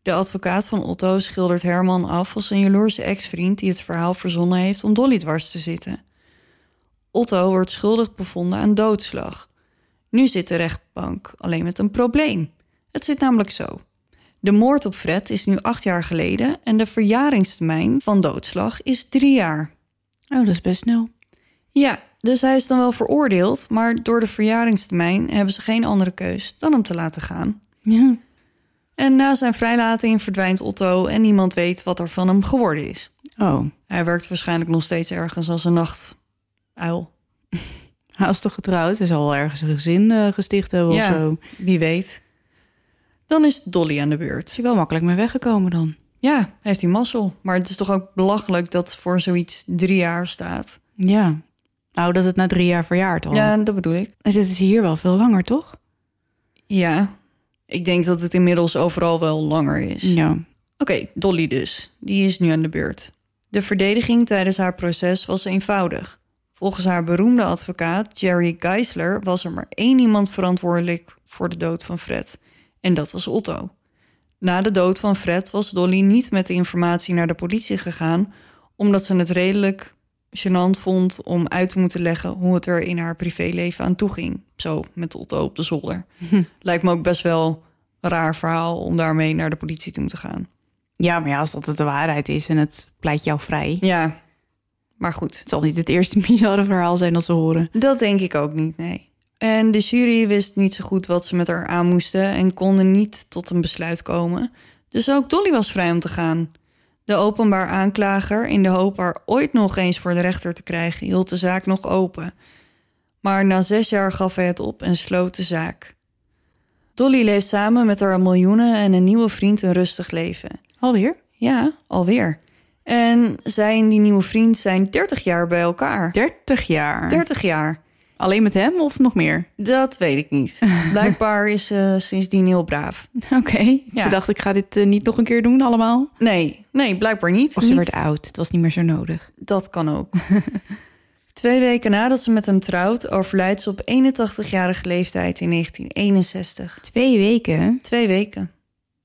S2: De advocaat van Otto schildert Herman af als een jaloerse ex-vriend die het verhaal verzonnen heeft om Dolly dwars te zitten. Otto wordt schuldig bevonden aan doodslag. Nu zit de rechtbank alleen met een probleem. Het zit namelijk zo. De moord op Fred is nu acht jaar geleden en de verjaringstermijn van doodslag is drie jaar.
S3: Oh, dat is best snel.
S2: Ja, dus hij is dan wel veroordeeld, maar door de verjaringstermijn hebben ze geen andere keus dan hem te laten gaan.
S3: Ja.
S2: En na zijn vrijlating verdwijnt Otto en niemand weet wat er van hem geworden is.
S3: Oh,
S2: Hij werkt waarschijnlijk nog steeds ergens als een nachtuil.
S3: hij is toch getrouwd? Hij zal wel ergens een gezin eh, gesticht hebben
S2: Ja.
S3: of zo.
S2: Wie weet. Dan is Dolly aan de
S3: Is
S2: beurt.
S3: hij wel makkelijk mee weggekomen dan?
S2: Ja, heeft hij mazzel. Maar het is toch ook belachelijk dat voor zoiets drie jaar staat.
S3: Ja. Nou, dat het na drie jaar verjaart al.
S2: Ja, dat bedoel ik.
S3: En Dit is hier wel veel langer, toch?
S2: Ja, ik denk dat het inmiddels overal wel langer is.
S3: Ja.
S2: Oké, Dolly dus. Die is nu aan de beurt. De verdediging tijdens haar proces was eenvoudig. Volgens haar beroemde advocaat Jerry Geisler was er maar één iemand verantwoordelijk voor de dood van Fred. En dat was Otto. Na de dood van Fred was Dolly niet met de informatie naar de politie gegaan, omdat ze het redelijk gênant vond om uit te moeten leggen hoe het er in haar privéleven aan toe ging. Zo met Otto op de zolder. Lijkt me ook best wel een raar verhaal om daarmee naar de politie toe te gaan.
S3: Ja, maar ja, als dat de waarheid is en het pleit jou vrij.
S2: Ja, maar goed.
S3: Het zal niet het eerste bizarre verhaal zijn dat ze horen.
S2: Dat denk ik ook niet, nee. En de jury wist niet zo goed wat ze met haar aan moesten en konden niet tot een besluit komen. Dus ook Dolly was vrij om te gaan. De openbaar aanklager, in de hoop haar ooit nog eens voor de rechter te krijgen, hield de zaak nog open. Maar na zes jaar gaf hij het op en sloot de zaak. Dolly leeft samen met haar miljoenen en een nieuwe vriend een rustig leven.
S3: Alweer?
S2: Ja, alweer. En zij en die nieuwe vriend zijn 30 jaar bij elkaar.
S3: 30 jaar.
S2: 30 jaar.
S3: Alleen met hem of nog meer?
S2: Dat weet ik niet. Blijkbaar is ze sindsdien heel braaf.
S3: Oké.
S2: Ja.
S3: Ze dacht, ik ga dit eh, niet nog een keer doen allemaal.
S2: Nee, nee, blijkbaar niet.
S3: Of ze
S2: Niet-
S3: werd oud. Het was niet meer zo nodig.
S2: Dat kan ook. Twee weken nadat ze met hem trouwt, overlijdt ze op 81-jarige leeftijd in 1961.
S3: Twee weken.
S2: Twee weken.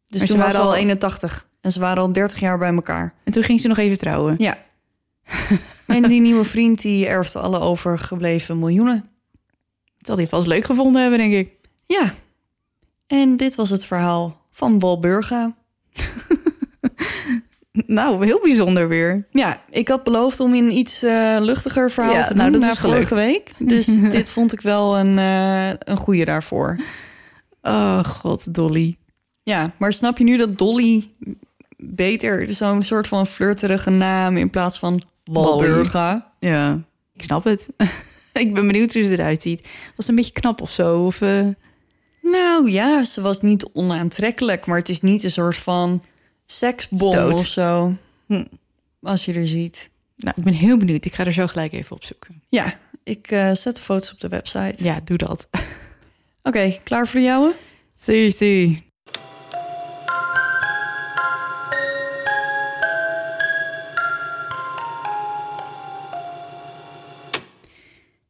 S2: Dus
S3: Maar
S2: toen
S3: ze
S2: waren
S3: was
S2: al
S3: al-
S2: 81. En ze waren al 30 jaar bij elkaar.
S3: En toen ging ze nog even trouwen.
S2: Ja. en die nieuwe vriend die erft alle overgebleven miljoenen.
S3: Dat zal hij vast leuk gevonden hebben, denk ik.
S2: Ja. En dit was het verhaal van Walburga.
S3: Nou, heel bijzonder weer.
S2: Ja, ik had beloofd om in een iets eh, luchtiger verhaal
S3: Ja,
S2: te
S3: nou,
S2: doen
S3: dat
S2: na
S3: is gelukt.
S2: vorige week. Dus dit vond ik wel een, eh een goede daarvoor.
S3: Oh god, Dolly.
S2: Ja, maar snap je nu dat Dolly beter zo'n soort van flirterige naam in plaats van Walburga?
S3: Ja, ik snap het. ik ben benieuwd hoe ze eruit ziet. Was ze een beetje knap of zo? Of, eh,
S2: Nou ja, ze was niet onaantrekkelijk, maar het is niet een soort van seksbom
S3: Stoot.
S2: of zo.
S3: Hm.
S2: Als je er ziet.
S3: Nou, ik ben heel benieuwd. Ik ga er zo gelijk even op zoeken.
S2: Ja, ik eh, zet de foto's op de website.
S3: Ja, doe dat.
S2: Oké, klaar voor de jouwe?
S3: Zie, zie.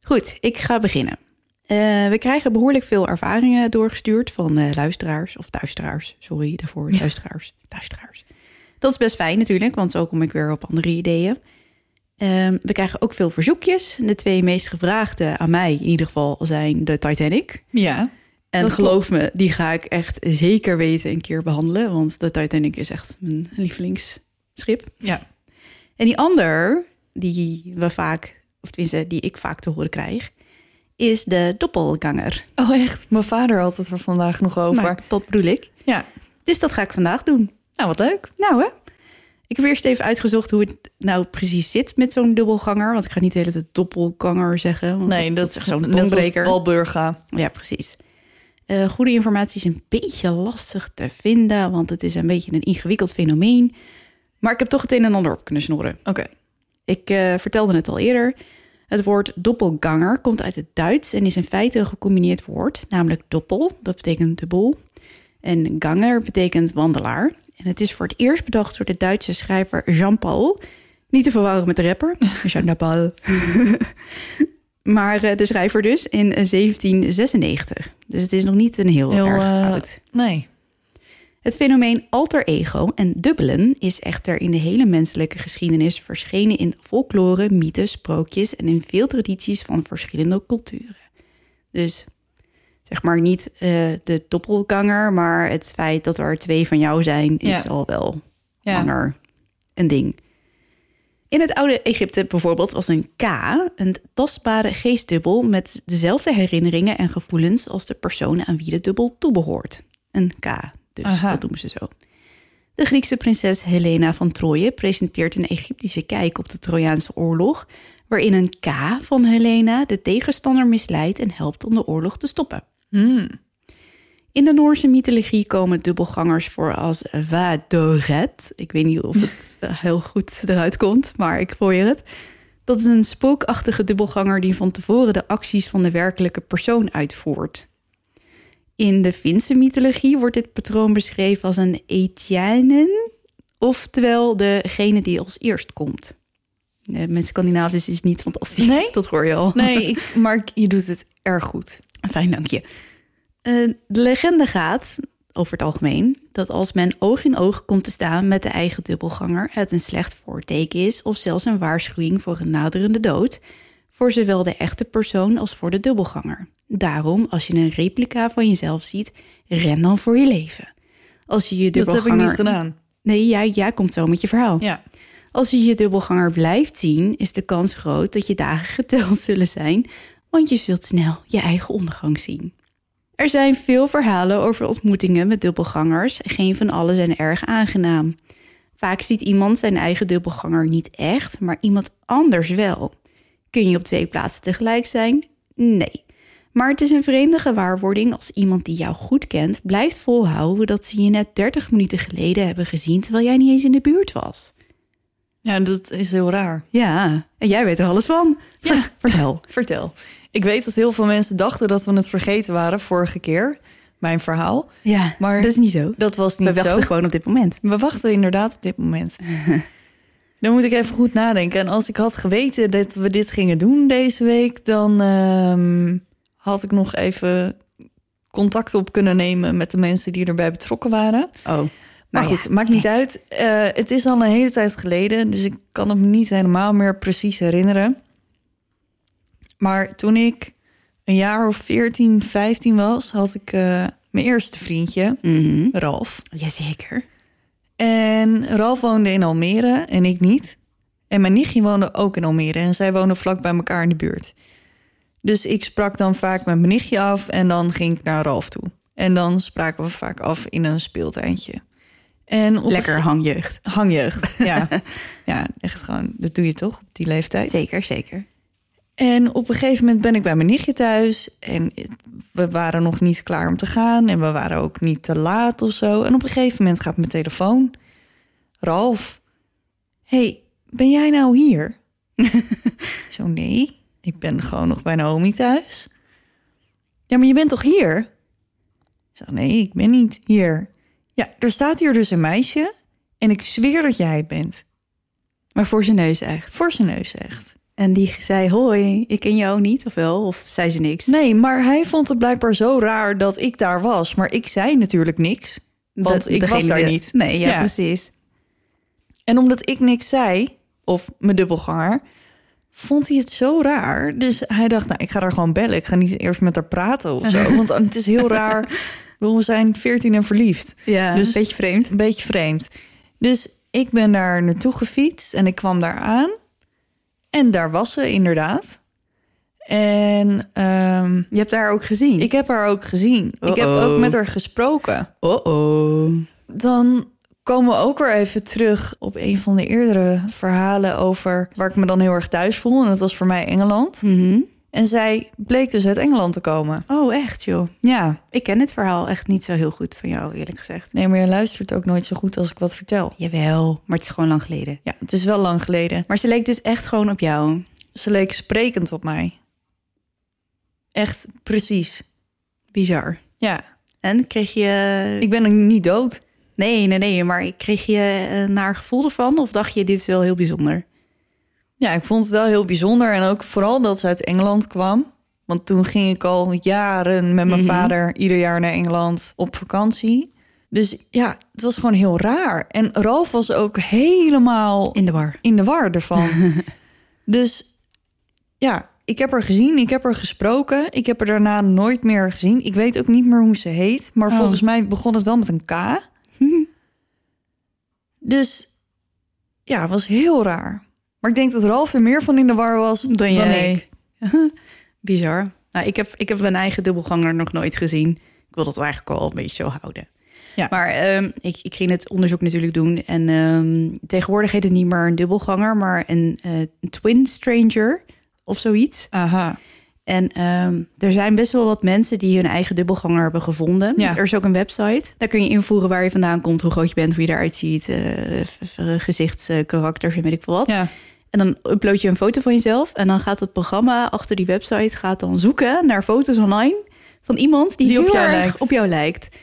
S3: Goed, ik ga beginnen. Eh, we krijgen behoorlijk veel ervaringen doorgestuurd van eh, luisteraars. Of duisteraars, sorry daarvoor. Luisteraars, duisteraars. Dat is best fijn natuurlijk, want zo kom ik weer op andere ideeën. Ehm, we krijgen ook veel verzoekjes. De twee meest gevraagde aan mij in ieder geval zijn de Titanic.
S2: Ja.
S3: En
S2: Dat
S3: geloof me, die ga ik echt zeker weten een keer behandelen. Want de Titanic is echt mijn lievelingsschip.
S2: Ja.
S3: En die ander, die we vaak, of tenminste, die ik vaak te horen krijg, is de doppelganger.
S2: Oh echt, mijn vader had het er vandaag nog over.
S3: Maar dat bedoel ik.
S2: Ja.
S3: Dus dat ga ik vandaag doen.
S2: Nou, wat leuk.
S3: Nou hè? Ik heb eerst even uitgezocht hoe het nou precies zit met zo'n dubbelganger. Want ik ga niet de hele tijd doppelganger zeggen. want
S2: Nee, dat,
S3: is
S2: is
S3: echt zo'n
S2: net als
S3: tongbreker.
S2: Walburga.
S3: Ja, precies. Eh, goede informatie is een beetje lastig te vinden, want het is een beetje een ingewikkeld fenomeen. Maar ik heb toch het een en ander op kunnen snorren.
S2: Oké.
S3: Ik eh, vertelde het al eerder. Het woord doppelganger komt uit het Duits en is in feite een gecombineerd woord, namelijk doppel, dat betekent dubbel, en ganger betekent wandelaar. En het is voor het eerst bedacht door de Duitse schrijver Jean-Paul, niet te verwarren met de rapper, Jean-Paul. maar eh, de schrijver dus in 1796. Dus het is nog niet een heel,
S2: Heel,
S3: erg
S2: eh,
S3: oud.
S2: Nee.
S3: Het fenomeen alter ego en dubbelen is echter in de hele menselijke geschiedenis verschenen in folklore, mythes, sprookjes en in veel tradities van verschillende culturen. Dus zeg maar niet eh, de doppelganger, maar het feit dat er twee van jou zijn is
S2: Ja.
S3: al wel
S2: Ja.
S3: langer een ding. In het oude Egypte bijvoorbeeld was een K een tastbare geestdubbel met dezelfde herinneringen en gevoelens als de persoon aan wie de dubbel toebehoort. Een K, dus
S2: Aha.
S3: dat doen ze zo. De Griekse prinses Helena van Troje presenteert een Egyptische kijk op de Trojaanse oorlog, waarin een K van Helena de tegenstander misleidt en helpt om de oorlog te stoppen. In de Noorse mythologie komen dubbelgangers voor als Vadoret. Ik weet niet of het eh, heel goed eruit komt, maar ik probeer het. Dat is een spookachtige dubbelganger die van tevoren de acties van de werkelijke persoon uitvoert. In de Finse mythologie wordt dit patroon beschreven als een Etianen, oftewel degene die als eerst komt. Nee, mijn Scandinavisch is niet fantastisch,
S2: Nee?
S3: dat hoor je al.
S2: Nee, ik, Mark, je doet het erg goed.
S3: Fijn, dank je. Eh, de legende gaat, over het algemeen, dat als men oog in oog komt te staan met de eigen dubbelganger, het een slecht voorteken is of zelfs een waarschuwing voor een naderende dood, voor zowel de echte persoon als voor de dubbelganger. Daarom, als je een replica van jezelf ziet, ren dan voor je leven. Als je je
S2: Dat
S3: dubbelganger...
S2: heb ik niet gedaan.
S3: Nee, jij, jij komt zo met je verhaal.
S2: Ja.
S3: Als je je dubbelganger blijft zien, is de kans groot dat je dagen geteld zullen zijn, want je zult snel je eigen ondergang zien. Er zijn veel verhalen over ontmoetingen met dubbelgangers. Geen van allen zijn erg aangenaam. Vaak ziet iemand zijn eigen dubbelganger niet echt, maar iemand anders wel. Kun je op twee plaatsen tegelijk zijn? Nee. Maar het is een vreemde gewaarwording als iemand die jou goed kent blijft volhouden dat ze je net 30 minuten geleden hebben gezien terwijl jij niet eens in de buurt was.
S2: ja, dat is heel raar.
S3: Ja, en jij weet er alles van.
S2: Ja.
S3: Vert- Vertel.
S2: Vertel. Ik weet dat heel veel mensen dachten dat we het vergeten waren vorige keer. Mijn verhaal.
S3: Ja, maar dat is niet zo.
S2: Dat was niet
S3: We wachten
S2: zo.
S3: gewoon op dit moment.
S2: We wachten inderdaad op dit moment. Dan moet ik even goed nadenken. En als ik had geweten dat we dit gingen doen deze week, dan ehm, had ik nog even contact op kunnen nemen met de mensen die erbij betrokken waren.
S3: Oh,
S2: Maar goed, maakt niet uit. Eh, het is al een hele tijd geleden, dus ik kan het me niet helemaal meer precies herinneren. Maar toen ik een jaar of 14, 15 was, had ik eh, mijn eerste vriendje, Ralf.
S3: Jazeker.
S2: En Ralf woonde in Almere en ik niet. En mijn nichtje woonde ook in Almere en zij woonden vlak bij elkaar in de buurt. Dus ik sprak dan vaak met mijn nichtje af en dan ging ik naar Ralf toe. En dan spraken we vaak af in een speeltuintje. En op een
S3: Lekker hangjeugd.
S2: Hangjeugd, ja. ja, echt gewoon, dat doe je toch op die leeftijd.
S3: Zeker, zeker.
S2: En op een gegeven moment ben ik bij mijn nichtje thuis. En we waren nog niet klaar om te gaan. En we waren ook niet te laat of zo. En op een gegeven moment gaat mijn telefoon. Ralf, hey, ben jij nou hier? zo, nee, ik ben gewoon nog bij Naomi thuis. Ja, maar je bent toch hier? Ik zeg, nee, ik ben niet hier. Ja, er staat hier dus een meisje. En ik zweer dat jij het bent.
S3: Maar voor zijn neus echt.
S2: Voor zijn neus echt.
S3: En die zei, hoi, ik ken jou niet, of wel? Of zei ze niks?
S2: Nee, maar hij vond het blijkbaar zo raar dat ik daar was. Maar ik zei natuurlijk niks. Want
S3: Dat-
S2: ik was
S3: degene
S2: daar
S3: die-
S2: niet.
S3: Nee, ja,
S2: Ja.
S3: precies.
S2: En omdat ik niks zei, of mijn dubbelganger, vond hij het zo raar. Dus hij dacht, nou, ik ga haar gewoon bellen. Ik ga niet eerst met haar praten of zo. Want het is heel raar. Ik bedoel, We zijn veertien en verliefd.
S3: Ja,
S2: Dus-
S3: een beetje vreemd.
S2: Een beetje vreemd. Dus ik ben daar naartoe gefietst en ik kwam daar aan. En daar was ze inderdaad. En ehm,
S3: Je hebt haar ook gezien.
S2: ik heb haar ook gezien. Ik heb
S3: Uh-oh.
S2: ook met haar gesproken.
S3: Oh-oh.
S2: Dan komen we ook weer even terug op een van de eerdere verhalen over waar ik me dan heel erg thuis voel. En dat was voor mij Engeland.
S3: Hm. Mhm.
S2: En zij bleek dus uit Engeland te komen.
S3: Oh, echt joh.
S2: Ja,
S3: Ik ken het verhaal echt niet zo heel goed van jou, eerlijk gezegd.
S2: nee, maar je luistert ook nooit zo goed als ik wat vertel.
S3: Jawel, maar het is gewoon lang geleden.
S2: Ja, het is wel lang geleden.
S3: Maar ze leek dus echt gewoon op jou.
S2: Ze leek sprekend op mij. Echt precies.
S3: Bizar.
S2: Ja,
S3: En kreeg je...
S2: ik ben nog niet dood.
S3: Nee, nee, nee, maar kreeg je een naar gevoel ervan? Of dacht je, dit is wel heel bijzonder?
S2: Ja, ik vond het wel heel bijzonder. En ook vooral dat ze uit Engeland kwam. Want toen ging ik al jaren met mijn vader ieder jaar naar Engeland op vakantie. Dus ja, het was gewoon heel raar. En Ralf was ook helemaal
S3: In de war.
S2: in de war ervan. dus ja, ik heb haar gezien, ik heb haar gesproken. Ik heb haar daarna nooit meer gezien. Ik weet ook niet meer hoe ze heet. Maar
S3: Oh.
S2: volgens mij begon het wel met een K. dus ja, het was heel raar. Maar ik denk dat Ralf er meer van in de war was dan,
S3: Dan jij.
S2: ik.
S3: Bizar. Nou, ik, heb, ik heb mijn eigen dubbelganger nog nooit gezien. Ik wil dat eigenlijk al een beetje zo houden.
S2: Ja.
S3: Maar ehm, ik, ik ging het onderzoek natuurlijk doen. En ehm, tegenwoordig heet het niet meer een dubbelganger, maar een eh, twin stranger of zoiets.
S2: Aha.
S3: En ehm, er zijn best wel wat mensen die hun eigen dubbelganger hebben gevonden.
S2: Ja.
S3: Er is ook een website. Daar kun je invoeren waar je vandaan komt, hoe groot je bent, hoe je eruit ziet, eh, v- v- gezichtskarakters en weet ik veel wat.
S2: Ja.
S3: En dan upload je een foto van jezelf. En dan gaat het programma achter die website gaat dan zoeken naar foto's online van iemand die,
S2: Die op
S3: heel
S2: jou
S3: erg
S2: lijkt.
S3: op jou lijkt.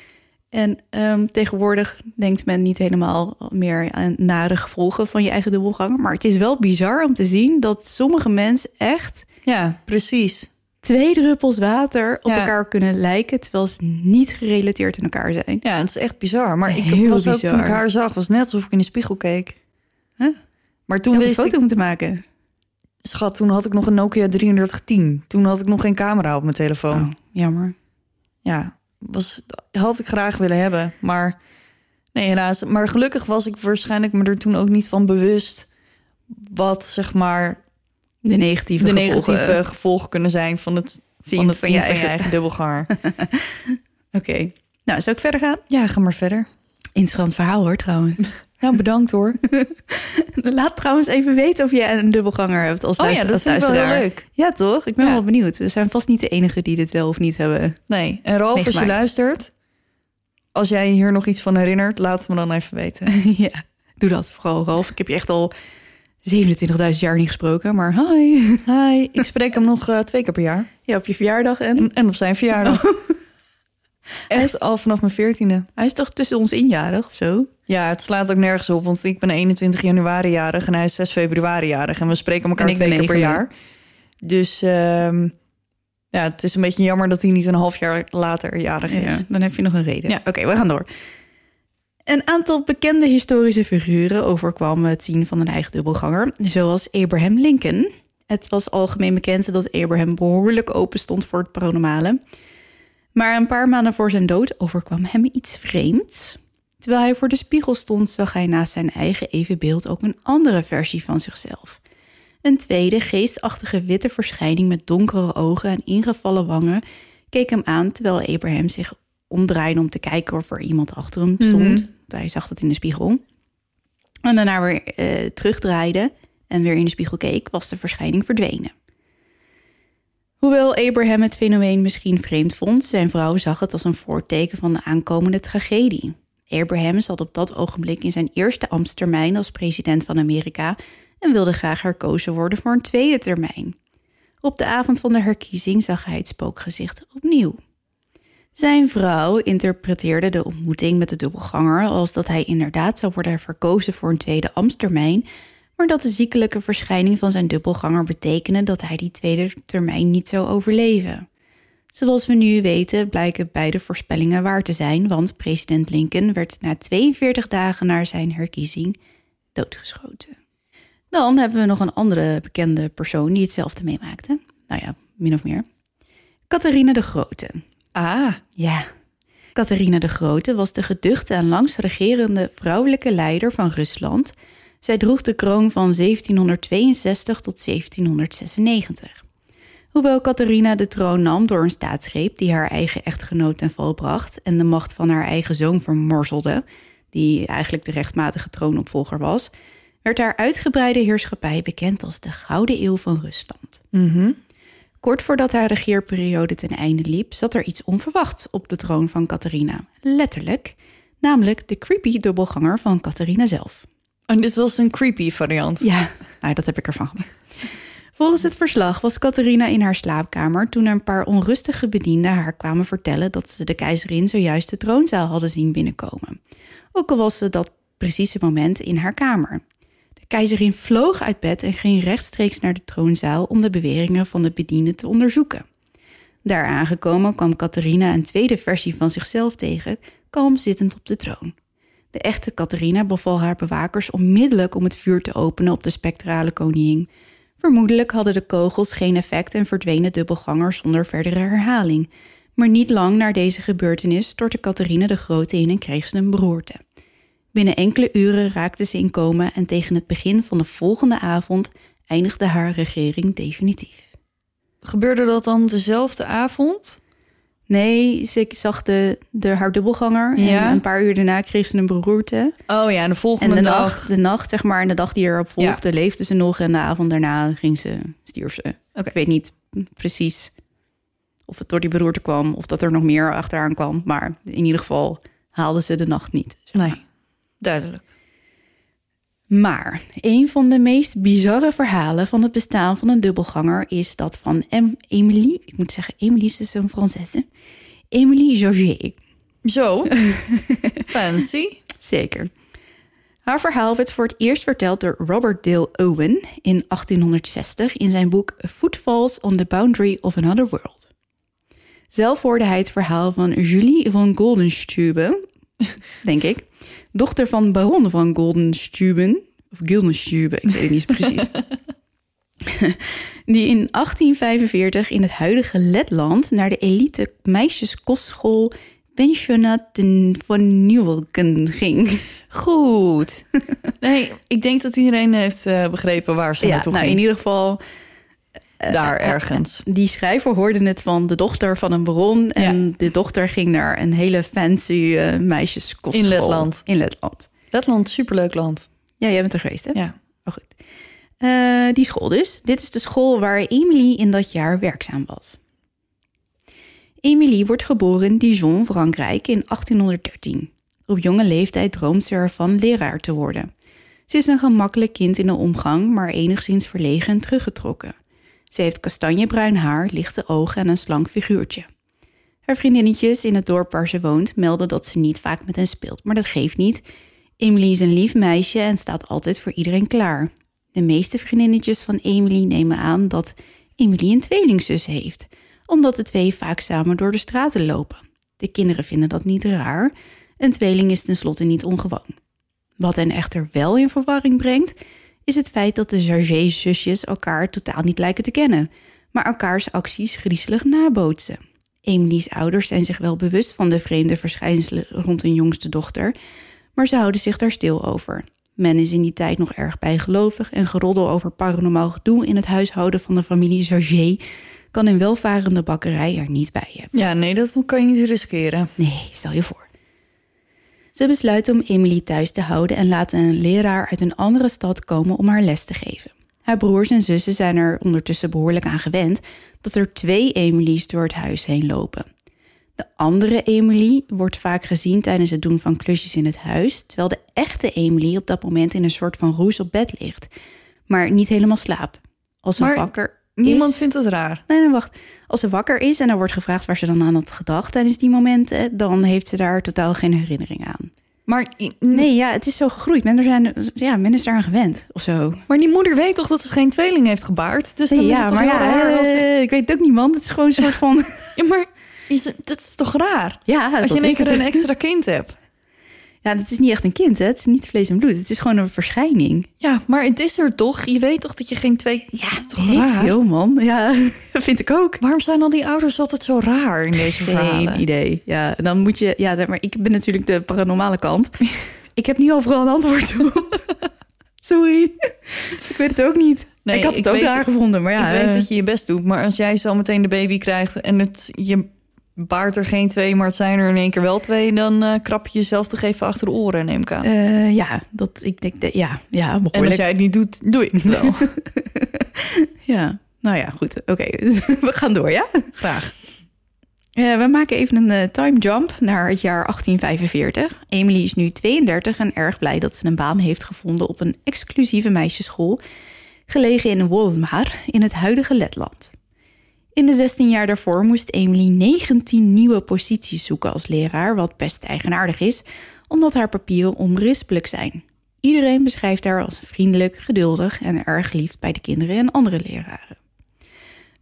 S3: En ehm, tegenwoordig denkt men niet helemaal meer aan nare gevolgen van je eigen dubbelganger. Maar het is wel bizar om te zien dat sommige mensen echt
S2: ja, precies.
S3: twee druppels water op
S2: Ja.
S3: elkaar kunnen lijken. Terwijl ze niet gerelateerd aan elkaar zijn.
S2: Ja, het is echt bizar. Maar ik
S3: Heel
S2: was ook
S3: bizar.
S2: toen ik haar zag, was net alsof ik in de spiegel keek.
S3: Huh?
S2: Maar
S3: Je
S2: toen
S3: had een
S2: wist ik
S3: foto moeten maken.
S2: Schat, toen had ik nog een Nokia 3310. Toen had ik nog geen camera op mijn telefoon.
S3: Oh, jammer.
S2: Ja, was, had ik graag willen hebben. Maar nee, helaas. Maar gelukkig was ik waarschijnlijk me er toen ook niet van bewust... wat, zeg maar,
S3: De negatieve
S2: de
S3: gevolgen.
S2: negatieve gevolgen kunnen zijn... van het
S3: Zien
S2: van, het
S3: van
S2: zien
S3: je
S2: van je
S3: eigen-
S2: eigen dubbelganger.
S3: Oké. Nou, zou ik verder gaan?
S2: ja, ga maar verder.
S3: Interessant verhaal hoor trouwens.
S2: Nou, bedankt hoor.
S3: Laat trouwens even weten of jij een dubbelganger hebt als,
S2: Oh ja,
S3: luister-
S2: dat
S3: als
S2: vind ik wel
S3: luisteraar.
S2: heel leuk.
S3: Ja, toch? Ik ben
S2: Ja.
S3: wel benieuwd. We zijn vast niet de enige die dit wel of niet hebben.
S2: Nee, en Ralf, als je
S3: Meegemaakt.
S2: luistert... als jij je hier nog iets van herinnert... laat het me dan even weten.
S3: ja, doe dat vooral, Ralf. Ik heb je echt al 27.000 jaar niet gesproken, maar hi.
S2: Hi, ik spreek hem nog eh, twee keer per jaar.
S3: Ja, op je verjaardag en...
S2: En, en op zijn verjaardag. Echt al vanaf mijn veertiende.
S3: Hij is toch tussen ons injarig of zo?
S2: Ja, het slaat ook nergens op, want ik ben 21 januari jarig en hij is 6 februari jarig. En we spreken elkaar
S3: En ik
S2: twee
S3: ben
S2: keer per
S3: 9e.
S2: jaar. Dus ehm, ja, het is een beetje jammer dat hij niet een half jaar later jarig is.
S3: Ja, dan heb je nog een reden.
S2: Ja.
S3: Oké, we gaan door. Een aantal bekende historische figuren overkwam het zien van een eigen dubbelganger, zoals Abraham Lincoln. Het was algemeen bekend dat Abraham behoorlijk open stond voor het paranormale. Maar een paar maanden voor zijn dood overkwam hem iets vreemds. Terwijl hij voor de spiegel stond, zag hij naast zijn eigen evenbeeld ook een andere versie van zichzelf. Een tweede geestachtige witte verschijning met donkere ogen en ingevallen wangen keek hem aan terwijl Abraham zich omdraaide om te kijken of er iemand achter hem stond. Want Hij zag dat in de spiegel. En daarna weer eh, terugdraaide en weer in de spiegel keek, was de verschijning verdwenen. Hoewel Abraham het fenomeen misschien vreemd vond, zijn vrouw zag het als een voorteken van de aankomende tragedie. Abraham zat op dat ogenblik in zijn eerste ambtstermijn als president van Amerika en wilde graag herkozen worden voor een tweede termijn. Op de avond van de herkiezing zag hij het spookgezicht opnieuw. Zijn vrouw interpreteerde de ontmoeting met de dubbelganger als dat hij inderdaad zou worden verkozen voor een tweede ambtstermijn, maar dat de ziekelijke verschijning van zijn dubbelganger betekende dat hij die tweede termijn niet zou overleven. Zoals we nu weten blijken beide voorspellingen waar te zijn, want president Lincoln werd na 42 dagen na zijn herkiezing doodgeschoten. Dan hebben we nog een andere bekende persoon die hetzelfde meemaakte. Nou ja, min of meer. Catharina de Grote.
S2: Ah,
S3: Ja. Catharina de Grote was de geduchte en langst regerende vrouwelijke leider van Rusland. Zij droeg de kroon van 1762 tot 1796. Hoewel Catharina de troon nam door een staatsgreep die haar eigen echtgenoot ten val bracht en de macht van haar eigen zoon vermorzelde, die eigenlijk de rechtmatige troonopvolger was, werd haar uitgebreide heerschappij bekend als de Gouden Eeuw van Rusland. Kort voordat haar regeerperiode ten einde liep, zat er iets onverwachts op de troon van Catharina. Letterlijk, namelijk de creepy dubbelganger van Catharina zelf.
S2: en dit was een creepy variant.
S3: Ja, nou, dat heb ik ervan gemaakt. Volgens het verslag was Catharina in haar slaapkamer toen er een paar onrustige bedienden haar kwamen vertellen dat ze de keizerin zojuist de troonzaal hadden zien binnenkomen. Ook al was ze dat precieze moment in haar kamer. De keizerin vloog uit bed en ging rechtstreeks naar de troonzaal om de beweringen van de bedienden te onderzoeken. Daar aangekomen kwam Catharina een tweede versie van zichzelf tegen, kalm zittend op de troon. De echte Catharina beval haar bewakers onmiddellijk om het vuur te openen op de spectrale koningin. Vermoedelijk hadden de kogels geen effect en verdween de dubbelganger zonder verdere herhaling. Maar niet lang na deze gebeurtenis stortte Catharina de Grote in en kreeg ze een beroerte. Binnen enkele uren raakte ze in coma en tegen het begin van de volgende avond eindigde haar regering definitief.
S2: Gebeurde dat dan dezelfde avond?
S3: Nee, ze zag de, de, haar dubbelganger
S2: Ja.
S3: en een paar uur daarna kreeg ze een beroerte.
S2: Oh ja, de
S3: En
S2: volgende
S3: de
S2: dag.
S3: nacht, de nacht, zeg maar, en de dag die erop
S2: Ja.
S3: volgde, leefde ze nog. En de avond daarna ging ze, stierf ze.
S2: Oké.
S3: Ik weet niet precies of het door die beroerte kwam of dat er nog meer achteraan kwam. Maar in ieder geval haalde ze de nacht niet. zeg maar.
S2: Nee, duidelijk.
S3: Maar een van de meest bizarre verhalen van het bestaan van een dubbelganger is dat van Em- Emily, ik moet zeggen, Emily ze is een Française, Emily Georget.
S2: Zo. Fancy.
S3: Zeker. Haar verhaal werd voor het eerst verteld door Robert Dale Owen in 1860 in zijn boek Footfalls on the Boundary of Another World. Zelf hoorde hij het verhaal van Julie van Goldenstube, denk ik, dochter van baron van Goldenstuben, of Gildenstube, ik weet het niet precies, die in 1845 in het huidige Letland naar de elite meisjeskostschool Pensionat van Nieuwelken ging.
S2: Goed. Nee, ik denk dat iedereen heeft eh, begrepen waar ze naartoe
S3: nou, in
S2: ging.
S3: ieder geval,
S2: Daar ergens.
S3: die schrijver hoorde het van de dochter van een baron. En de dochter ging naar een hele fancy eh meisjeskostschool.
S2: In Letland.
S3: In Letland.
S2: Letland, superleuk land.
S3: Ja, jij bent er geweest, hè?
S2: Ja.
S3: Maar Oh, goed. Eh, die school dus. Dit is de school waar Emily in dat jaar werkzaam was. Emily wordt geboren in Dijon, Frankrijk in 1813. Op jonge leeftijd droomt ze ervan leraar te worden. Ze is een gemakkelijk kind in de omgang, maar enigszins verlegen en teruggetrokken. Ze heeft kastanjebruin haar, lichte ogen en een slank figuurtje. Haar vriendinnetjes in het dorp waar ze woont melden dat ze niet vaak met hen speelt, maar dat geeft niet. Emily is een lief meisje en staat altijd voor iedereen klaar. De meeste vriendinnetjes van Emily nemen aan dat Emily een tweelingzus heeft, omdat de twee vaak samen door de straten lopen. De kinderen vinden dat niet raar. Een tweeling is tenslotte niet ongewoon. Wat hen echter wel in verwarring brengt, is het feit dat de Jarget-zusjes elkaar totaal niet lijken te kennen, maar elkaars acties griezelig nabootsen. Emily's ouders zijn zich wel bewust van de vreemde verschijnselen rond hun jongste dochter, maar ze houden zich daar stil over. Men is in die tijd nog erg bijgelovig en geroddel over paranormaal gedoe in het huishouden van de familie Jarget kan een welvarende bakkerij er niet bij hebben.
S2: Ja, nee, dat kan je niet riskeren.
S3: Nee, stel je voor. Ze besluiten om Emily thuis te houden en laten een leraar uit een andere stad komen om haar les te geven. Haar broers en zussen zijn er ondertussen behoorlijk aan gewend dat er twee Emilies door het huis heen lopen. De andere Emily wordt vaak gezien tijdens het doen van klusjes in het huis, terwijl de echte Emily op dat moment in een soort van roes op bed ligt, maar niet helemaal slaapt. Als ze
S2: Maar
S3: wakker
S2: Niemand
S3: is...
S2: vindt het raar.
S3: Nee, nee, wacht. Als ze wakker is en er wordt gevraagd waar ze dan aan had gedacht tijdens die momenten, dan heeft ze daar totaal geen herinnering aan.
S2: Maar, i-
S3: Nee, ja, het is zo gegroeid. Men, er zijn, ja, men is daaraan gewend of zo.
S2: maar die moeder weet toch dat ze geen tweeling heeft gebaard? Dus dan is het
S3: ja,
S2: toch
S3: maar
S2: heel
S3: ja,
S2: raar als je-
S3: eh, ik weet het ook niet, man. Het is gewoon een soort van...
S2: Ja, maar is, dat is toch raar?
S3: ja,
S2: Als
S3: dat
S2: je in één
S3: is
S2: keer
S3: het.
S2: een extra kind hebt.
S3: Ja, het is niet echt een kind, hè. Het is niet vlees en bloed. Het is gewoon een verschijning.
S2: Ja, maar het is er toch? Je weet toch dat je geen twee... Ja, dat is toch
S3: Weet ik
S2: raar?
S3: veel, man. Ja, vind ik ook.
S2: Waarom zijn al die ouders altijd zo raar in deze verhalen?
S3: Geen idee. Ja, dan moet je... Ja, maar ik ben natuurlijk de paranormale kant. ik heb niet overal een antwoord op. Sorry. ik weet het ook niet.
S2: Nee,
S3: ik had het
S2: ik
S3: ook
S2: weet-
S3: raar gevonden, maar ja...
S2: ik
S3: eh,
S2: weet dat je je best doet, maar als jij zo meteen de baby krijgt en het, je baart er geen twee, maar het zijn er in één keer wel twee, dan eh, krap je jezelf toch even achter de oren, neem ik aan.
S3: eh, ja, dat ik denk, dat- ja, ja,
S2: en als
S3: behoorlijk.
S2: jij het niet doet, doe ik het wel.
S3: Ja, nou ja, goed. Oké, we gaan door, ja?
S2: Graag.
S3: Eh, we maken even een eh, time jump naar het jaar 1845. Emily is nu 32 en erg blij dat ze een baan heeft gevonden op een exclusieve meisjesschool, gelegen in Wolmar in het huidige Letland. In de 16 jaar daarvoor moest Emily 19 nieuwe posities zoeken als leraar, wat best eigenaardig is, omdat haar papieren onberispelijk zijn. Iedereen beschrijft haar als vriendelijk, geduldig en erg lief bij de kinderen en andere leraren.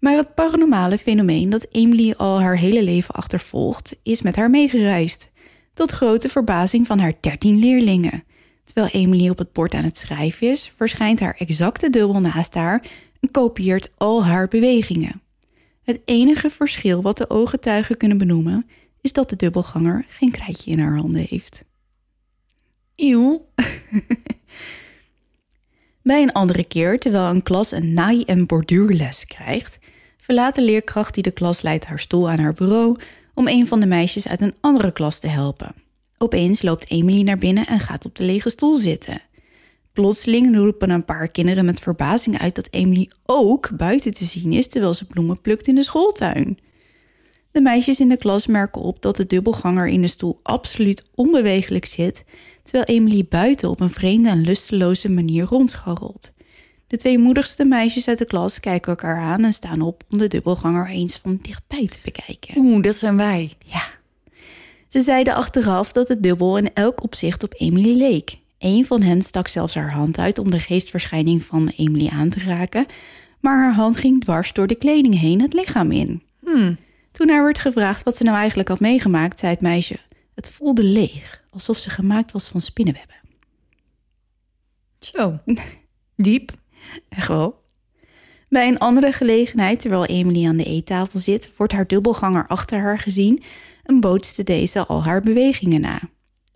S3: Maar het paranormale fenomeen dat Emily al haar hele leven achtervolgt, is met haar meegereisd. Tot grote verbazing van haar 13 leerlingen. Terwijl Emily op het bord aan het schrijven is, verschijnt haar exacte dubbel naast haar en kopieert al haar bewegingen. Het enige verschil wat de ooggetuigen kunnen benoemen, is dat de dubbelganger geen krijtje in haar handen heeft.
S2: Eeuw.
S3: Bij een andere keer, terwijl een klas een naai- en borduurles krijgt, verlaat de leerkracht die de klas leidt haar stoel aan haar bureau om een van de meisjes uit een andere klas te helpen. Opeens loopt Emily naar binnen en gaat op de lege stoel zitten. Plotseling roepen een paar kinderen met verbazing uit dat Emily ook buiten te zien is terwijl ze bloemen plukt in de schooltuin. De meisjes in de klas merken op dat de dubbelganger in de stoel absoluut onbewegelijk zit, terwijl Emily buiten op een vreemde en lusteloze manier rondscharrelt. De twee moedigste meisjes uit de klas kijken elkaar aan en staan op om de dubbelganger eens van dichtbij te bekijken.
S2: Oeh, dat zijn wij.
S3: Ja. Ze zeiden achteraf dat het dubbel in elk opzicht op Emily leek. Eén van hen stak zelfs haar hand uit om de geestverschijning van Emily aan te raken, maar haar hand ging dwars door de kleding heen het lichaam in. Toen haar werd gevraagd wat ze nou eigenlijk had meegemaakt, zei het meisje: Het voelde leeg, alsof ze gemaakt was van spinnenwebben.
S2: Zo. Diep.
S3: Echt wel. Bij een andere gelegenheid, terwijl Emily aan de eettafel zit, wordt haar dubbelganger achter haar gezien en bootste deze al haar bewegingen na.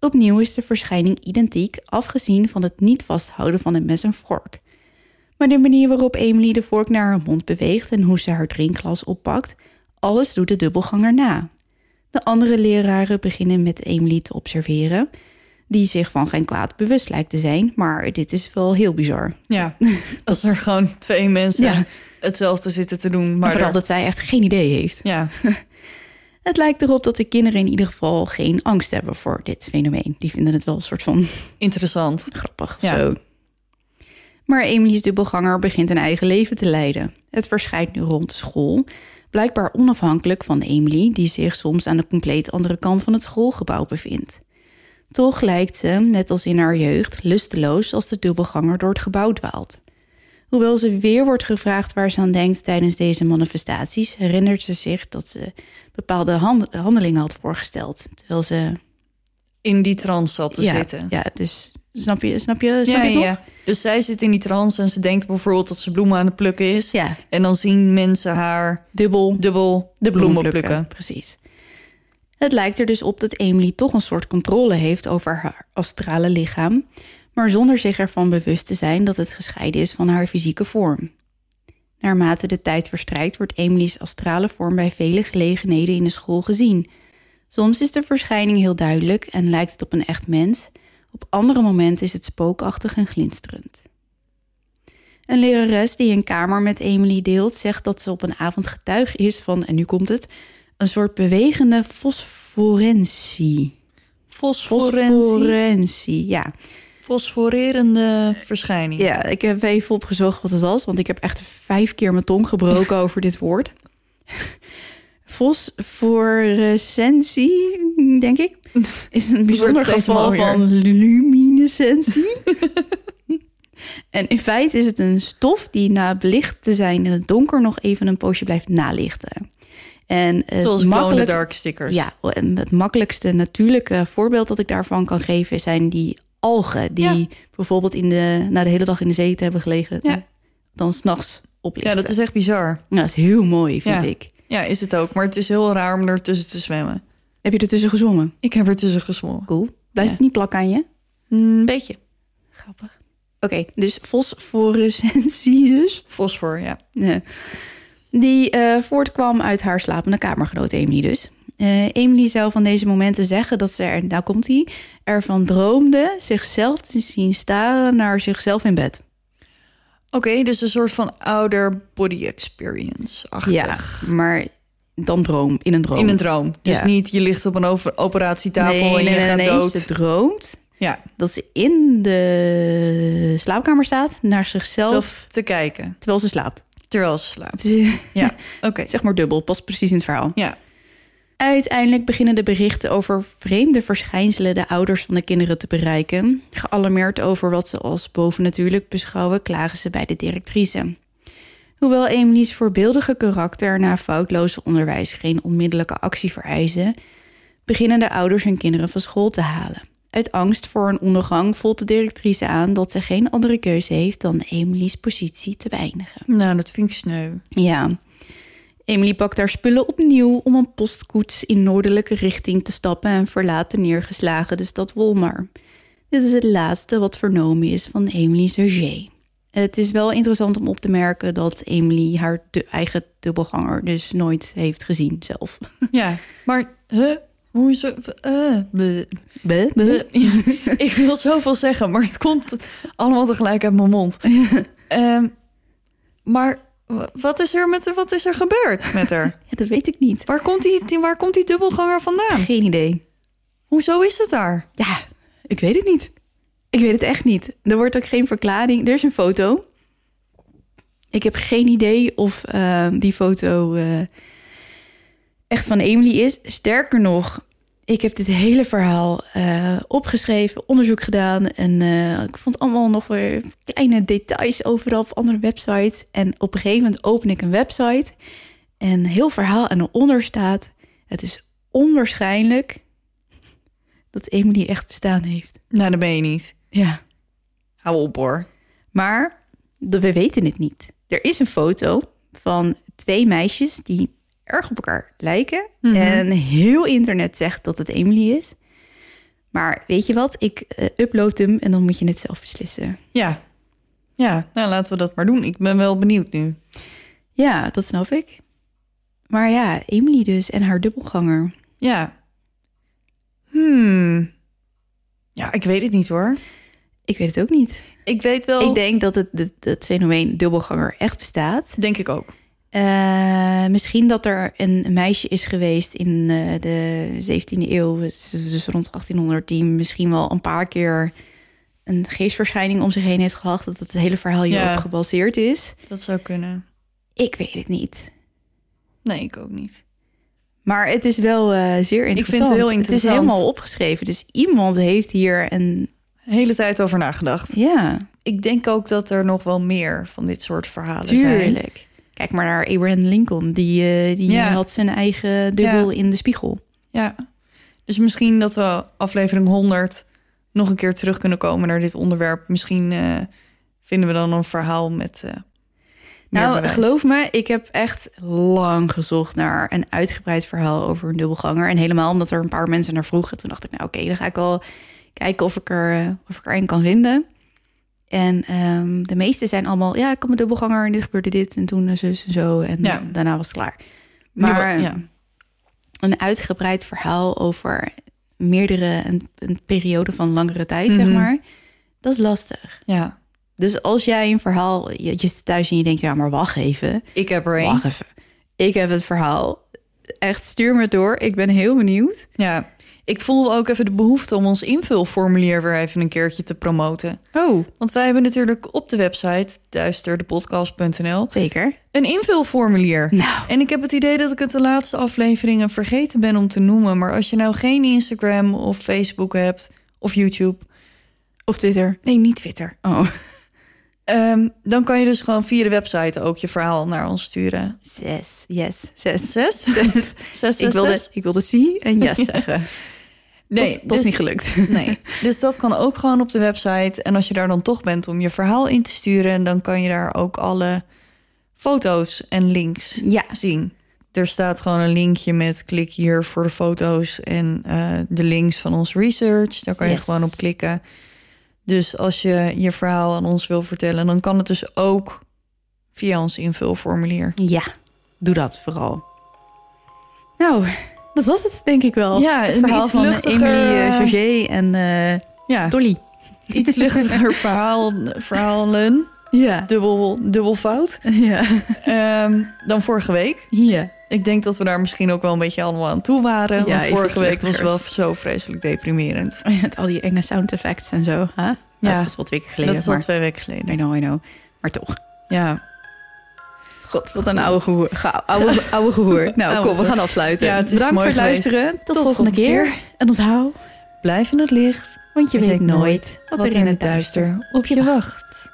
S3: Opnieuw is de verschijning identiek, afgezien van het niet vasthouden van een mes en vork. Maar de manier waarop Emily de vork naar haar mond beweegt en hoe ze haar drinkglas oppakt, alles doet de dubbelganger na. De andere leraren beginnen met Emily te observeren, die zich van geen kwaad bewust lijkt te zijn, maar dit is wel heel bizar.
S2: Ja. Als er gewoon twee mensen
S3: Ja.
S2: hetzelfde zitten te doen, maar...
S3: Maar vooral
S2: er-
S3: dat zij echt geen idee heeft.
S2: Ja.
S3: Het lijkt erop dat de kinderen in ieder geval geen angst hebben voor dit fenomeen. Die vinden het wel een soort van
S2: Interessant.
S3: grappig of
S2: Ja.
S3: zo. Maar Emily's dubbelganger begint een eigen leven te leiden. Het verschijnt nu rond de school, blijkbaar onafhankelijk van Emily, die zich soms aan de compleet andere kant van het schoolgebouw bevindt. Toch lijkt ze, net als in haar jeugd, lusteloos als de dubbelganger door het gebouw dwaalt. Hoewel ze weer wordt gevraagd waar ze aan denkt tijdens deze manifestaties, herinnert ze zich dat ze bepaalde hand- handelingen had voorgesteld. Terwijl ze.
S2: In die trance zat te
S3: ja,
S2: zitten.
S3: ja, dus snap je, snap je, snap je het nog?
S2: Dus zij zit in die trance en ze denkt bijvoorbeeld dat ze bloemen aan het plukken is.
S3: Ja,
S2: En dan zien mensen haar
S3: dubbel
S2: dubbel
S3: de bloemen,
S2: bloemen
S3: plukken.
S2: plukken.
S3: Precies. Het lijkt er dus op dat Emily toch een soort controle heeft over haar astrale lichaam, maar zonder zich ervan bewust te zijn dat het gescheiden is van haar fysieke vorm. Naarmate de tijd verstrijkt, wordt Emily's astrale vorm bij vele gelegenheden in de school gezien. Soms is de verschijning heel duidelijk en lijkt het op een echt mens, op andere momenten is het spookachtig en glinsterend. Een lerares die een kamer met Emily deelt, zegt dat ze op een avond getuige is van, en nu komt het, een soort bewegende fosforentie.
S2: Fosforentie.
S3: Fosforentie, ja.
S2: Fosforerende verschijning.
S3: Ja, ik heb even opgezocht wat het was, want ik heb echt vijf keer mijn tong gebroken over dit woord. Fosforescentie, denk ik, is een bijzonder
S2: steeds
S3: geval
S2: mooier.
S3: van luminescentie. en in feite is het een stof die na belicht te zijn in het donker nog even een poosje blijft nalichten. En het
S2: Zoals Glow in the
S3: makkelijk-
S2: Dark stickers.
S3: ja, en het makkelijkste natuurlijke voorbeeld dat ik daarvan kan geven zijn die algen die
S2: Ja.
S3: bijvoorbeeld in de, na de hele dag in de zee te hebben gelegen, eh,
S2: Ja.
S3: dan s'nachts
S2: ja,
S3: oplichten.
S2: dat is echt bizar.
S3: Nou, dat is heel mooi, vind
S2: Ja.
S3: ik.
S2: Ja, is het ook. Maar het is heel raar om ertussen te zwemmen.
S3: Heb je ertussen gezongen?
S2: Ik heb ertussen gesmolgen.
S3: Cool. Blijft
S2: Ja.
S3: het niet plakken aan je?
S2: Mm, Een beetje.
S3: Grappig. Oké, dus fosforescentie dus.
S2: Fosfor, ja.
S3: Ja. Die eh, voortkwam uit haar slapende kamergenoot Emily dus. Eh, Emily zou van deze momenten zeggen dat ze er, nou komt hij, ervan droomde zichzelf te zien staren naar zichzelf in bed.
S2: Oké, dus een soort van ouder body experience-achtig.
S3: Ja, maar dan droom, in een droom.
S2: In een droom. Dus
S3: Ja.
S2: niet je ligt op een over- operatietafel
S3: nee,
S2: en je
S3: nee, nee,
S2: gaat
S3: nee,
S2: dood.
S3: Ze droomt
S2: Ja,
S3: dat ze in de slaapkamer staat naar zichzelf
S2: zelf te kijken
S3: terwijl ze slaapt.
S2: terwijl ze slaapt.
S3: Het is,
S2: Ja, oké.
S3: zeg maar dubbel, past precies in het verhaal.
S2: Ja,
S3: Uiteindelijk beginnen de berichten over vreemde verschijnselen de ouders van de kinderen te bereiken. Gealarmeerd over wat ze als bovennatuurlijk beschouwen, klagen ze bij de directrice. Hoewel Emily's voorbeeldige karakter na foutloos onderwijs geen onmiddellijke actie vereisen, beginnen de ouders hun kinderen van school te halen. Uit angst voor een ondergang voelt de directrice aan dat ze geen andere keuze heeft dan Emily's positie te beëindigen.
S2: nou, dat vind ik sneu.
S3: Ja. Emily pakt haar spullen opnieuw om een postkoets in noordelijke richting te stappen en verlaat de neergeslagen de stad Wolmar. Dit is het laatste wat vernomen is van Emily Sergé. Het is wel interessant om op te merken dat Emily haar du- eigen dubbelganger dus nooit heeft gezien zelf.
S2: Ja, maar huh? hoe is het? eh, bleh, bleh. Eh, ik wil zoveel zeggen, maar het komt allemaal tegelijk uit mijn mond. Ehm, maar wa- wat is, er met, wat is er gebeurd met haar?
S3: Ja, dat weet ik niet.
S2: Waar komt die, die- waar komt die dubbelganger vandaan?
S3: Geen idee.
S2: Hoezo is het daar?
S3: Ja, ik weet het niet. Ik weet het echt niet. Er wordt ook geen verklaring. Er is een foto. Ik heb geen idee of eh, die foto eh, echt van Emily is. Sterker nog, ik heb dit hele verhaal eh, opgeschreven, onderzoek gedaan. En eh, ik vond allemaal nog weer kleine details overal op andere websites. En op een gegeven moment open ik een website. En heel verhaal en eronder staat... Het is onwaarschijnlijk dat Emily echt bestaan heeft.
S2: Nou, dat ben je niet.
S3: Ja.
S2: Hou op hoor.
S3: Maar de- we weten het niet. Er is een foto van twee meisjes die erg op elkaar lijken. En heel internet zegt dat het Emily is. Maar weet je wat? Ik eh, upload hem en dan moet je het zelf beslissen.
S2: Ja. Ja, nou laten we dat maar doen. Ik ben wel benieuwd nu.
S3: Ja, dat snap ik. Maar ja, Emily dus en haar dubbelganger.
S2: Ja. Hmm. Ja, ik weet het niet hoor.
S3: Ik weet het ook niet.
S2: Ik weet wel.
S3: Ik denk dat het, het, het fenomeen dubbelganger echt bestaat.
S2: denk ik ook.
S3: Eh, misschien dat er een meisje is geweest in eh, de 17e eeuw, dus dus rond 1800, die misschien wel een paar keer een geestverschijning om zich heen heeft gehad. Dat het hele verhaal hierop
S2: Ja.
S3: gebaseerd is.
S2: Dat zou kunnen.
S3: Ik weet het niet.
S2: Nee, ik ook niet.
S3: Maar het is wel eh, zeer interessant.
S2: vind het heel
S3: Het is
S2: interessant.
S3: helemaal opgeschreven. Dus iemand heeft hier een.
S2: De hele tijd over nagedacht.
S3: Ja,
S2: Ik denk ook dat er nog wel meer van dit soort verhalen zijn.
S3: tuurlijk. Kijk maar naar Abraham Lincoln. Die, eh, die
S2: Ja.
S3: had zijn eigen dubbel in de spiegel.
S2: Ja. Dus misschien dat we aflevering 100 nog een keer terug kunnen komen naar dit onderwerp. Misschien eh, vinden we dan een verhaal met. eh, meer
S3: Nou,
S2: bewijs.
S3: geloof me, ik heb echt lang gezocht naar een uitgebreid verhaal over een dubbelganger. En helemaal omdat er een paar mensen naar vroegen. Toen dacht ik, nou oké, dan ga ik wel kijken of ik er, eh, of ik er een kan vinden. En ehm, de meeste zijn allemaal, ja, ik had mijn dubbelganger en dit gebeurde dit en toen en zus en zo. En
S2: Ja.
S3: daarna was het klaar.
S2: Nu wel-
S3: Maar
S2: ja.
S3: een uitgebreid verhaal over meerdere, een, een periode van langere tijd, zeg
S2: Mhm.
S3: maar. Dat is lastig.
S2: Ja.
S3: Dus als jij een verhaal, je, je zit thuis en je denkt, ja, maar wacht even.
S2: Ik heb er één.
S3: Wacht even. Ik heb het verhaal. Echt, stuur me door. Ik ben heel benieuwd.
S2: Ja. Ik voel ook even de behoefte om ons invulformulier weer even een keertje te promoten.
S3: Oh,
S2: Want wij hebben natuurlijk op de website duisterdepodcast.nl
S3: zeker.
S2: een invulformulier.
S3: Nou,
S2: En ik heb het idee dat ik het de laatste afleveringen vergeten ben om te noemen. Maar als je nou geen Instagram of Facebook hebt of YouTube.
S3: of Twitter.
S2: Nee, niet Twitter.
S3: Oh,
S2: Ehm, dan kan je dus gewoon via de website ook je verhaal naar ons sturen.
S3: zes. Yes, zes.
S2: Zes?
S3: Zes.
S2: Zes,
S3: Ik wilde, ik wilde C en yes zeggen. Nee, dat, is- dat is
S2: dus-
S3: niet gelukt.
S2: Nee, dus dat kan ook gewoon op de website. En als je daar dan toch bent om je verhaal in te sturen, dan kan je daar ook alle foto's en links
S3: Ja,
S2: zien. Er staat gewoon een linkje met klik hier voor de foto's en eh, de links van ons research. Daar kan je
S3: Yes.
S2: gewoon op klikken. Dus als je je verhaal aan ons wil vertellen, dan kan het dus ook via ons invulformulier.
S3: Ja, doe dat vooral. Nou, dat was het denk ik wel.
S2: Ja,
S3: het
S2: een
S3: verhaal
S2: iets
S3: van
S2: luchtiger,
S3: Emily,
S2: eh,
S3: eh, Georget en eh
S2: Ja,
S3: Dolly.
S2: iets luchtiger verhaal, verhalen,
S3: Ja.
S2: dubbel, dubbel fout,
S3: Ja.
S2: Ehm, dan vorige week.
S3: Ja.
S2: Ik denk dat we daar misschien ook wel een beetje allemaal aan toe waren.
S3: Ja,
S2: want
S3: is
S2: vorige
S3: iets
S2: week was wel
S3: luchtigers.
S2: zo vreselijk deprimerend.
S3: Met al die enge sound effects en zo. Hè? Ja.
S2: Ja.
S3: Dat was wat weken geleden.
S2: Dat is al
S3: maar,
S2: twee weken geleden.
S3: I know, I know. Maar toch.
S2: Ja,
S3: God, wat een oude gehoor. Ge- oude, oude gehoor. Nou,
S2: Oude
S3: kom, we
S2: gehoor.
S3: gaan afsluiten.
S2: Ja, het is
S3: Bedankt
S2: mooi
S3: voor het
S2: geweest.
S3: luisteren. Tot,
S2: Tot
S3: de volgende
S2: volgende
S3: keer. En onthoud,
S2: Blijf in het licht,
S3: want je
S2: Je
S3: weet
S2: weet
S3: nooit wat er in het duister
S2: op je wacht.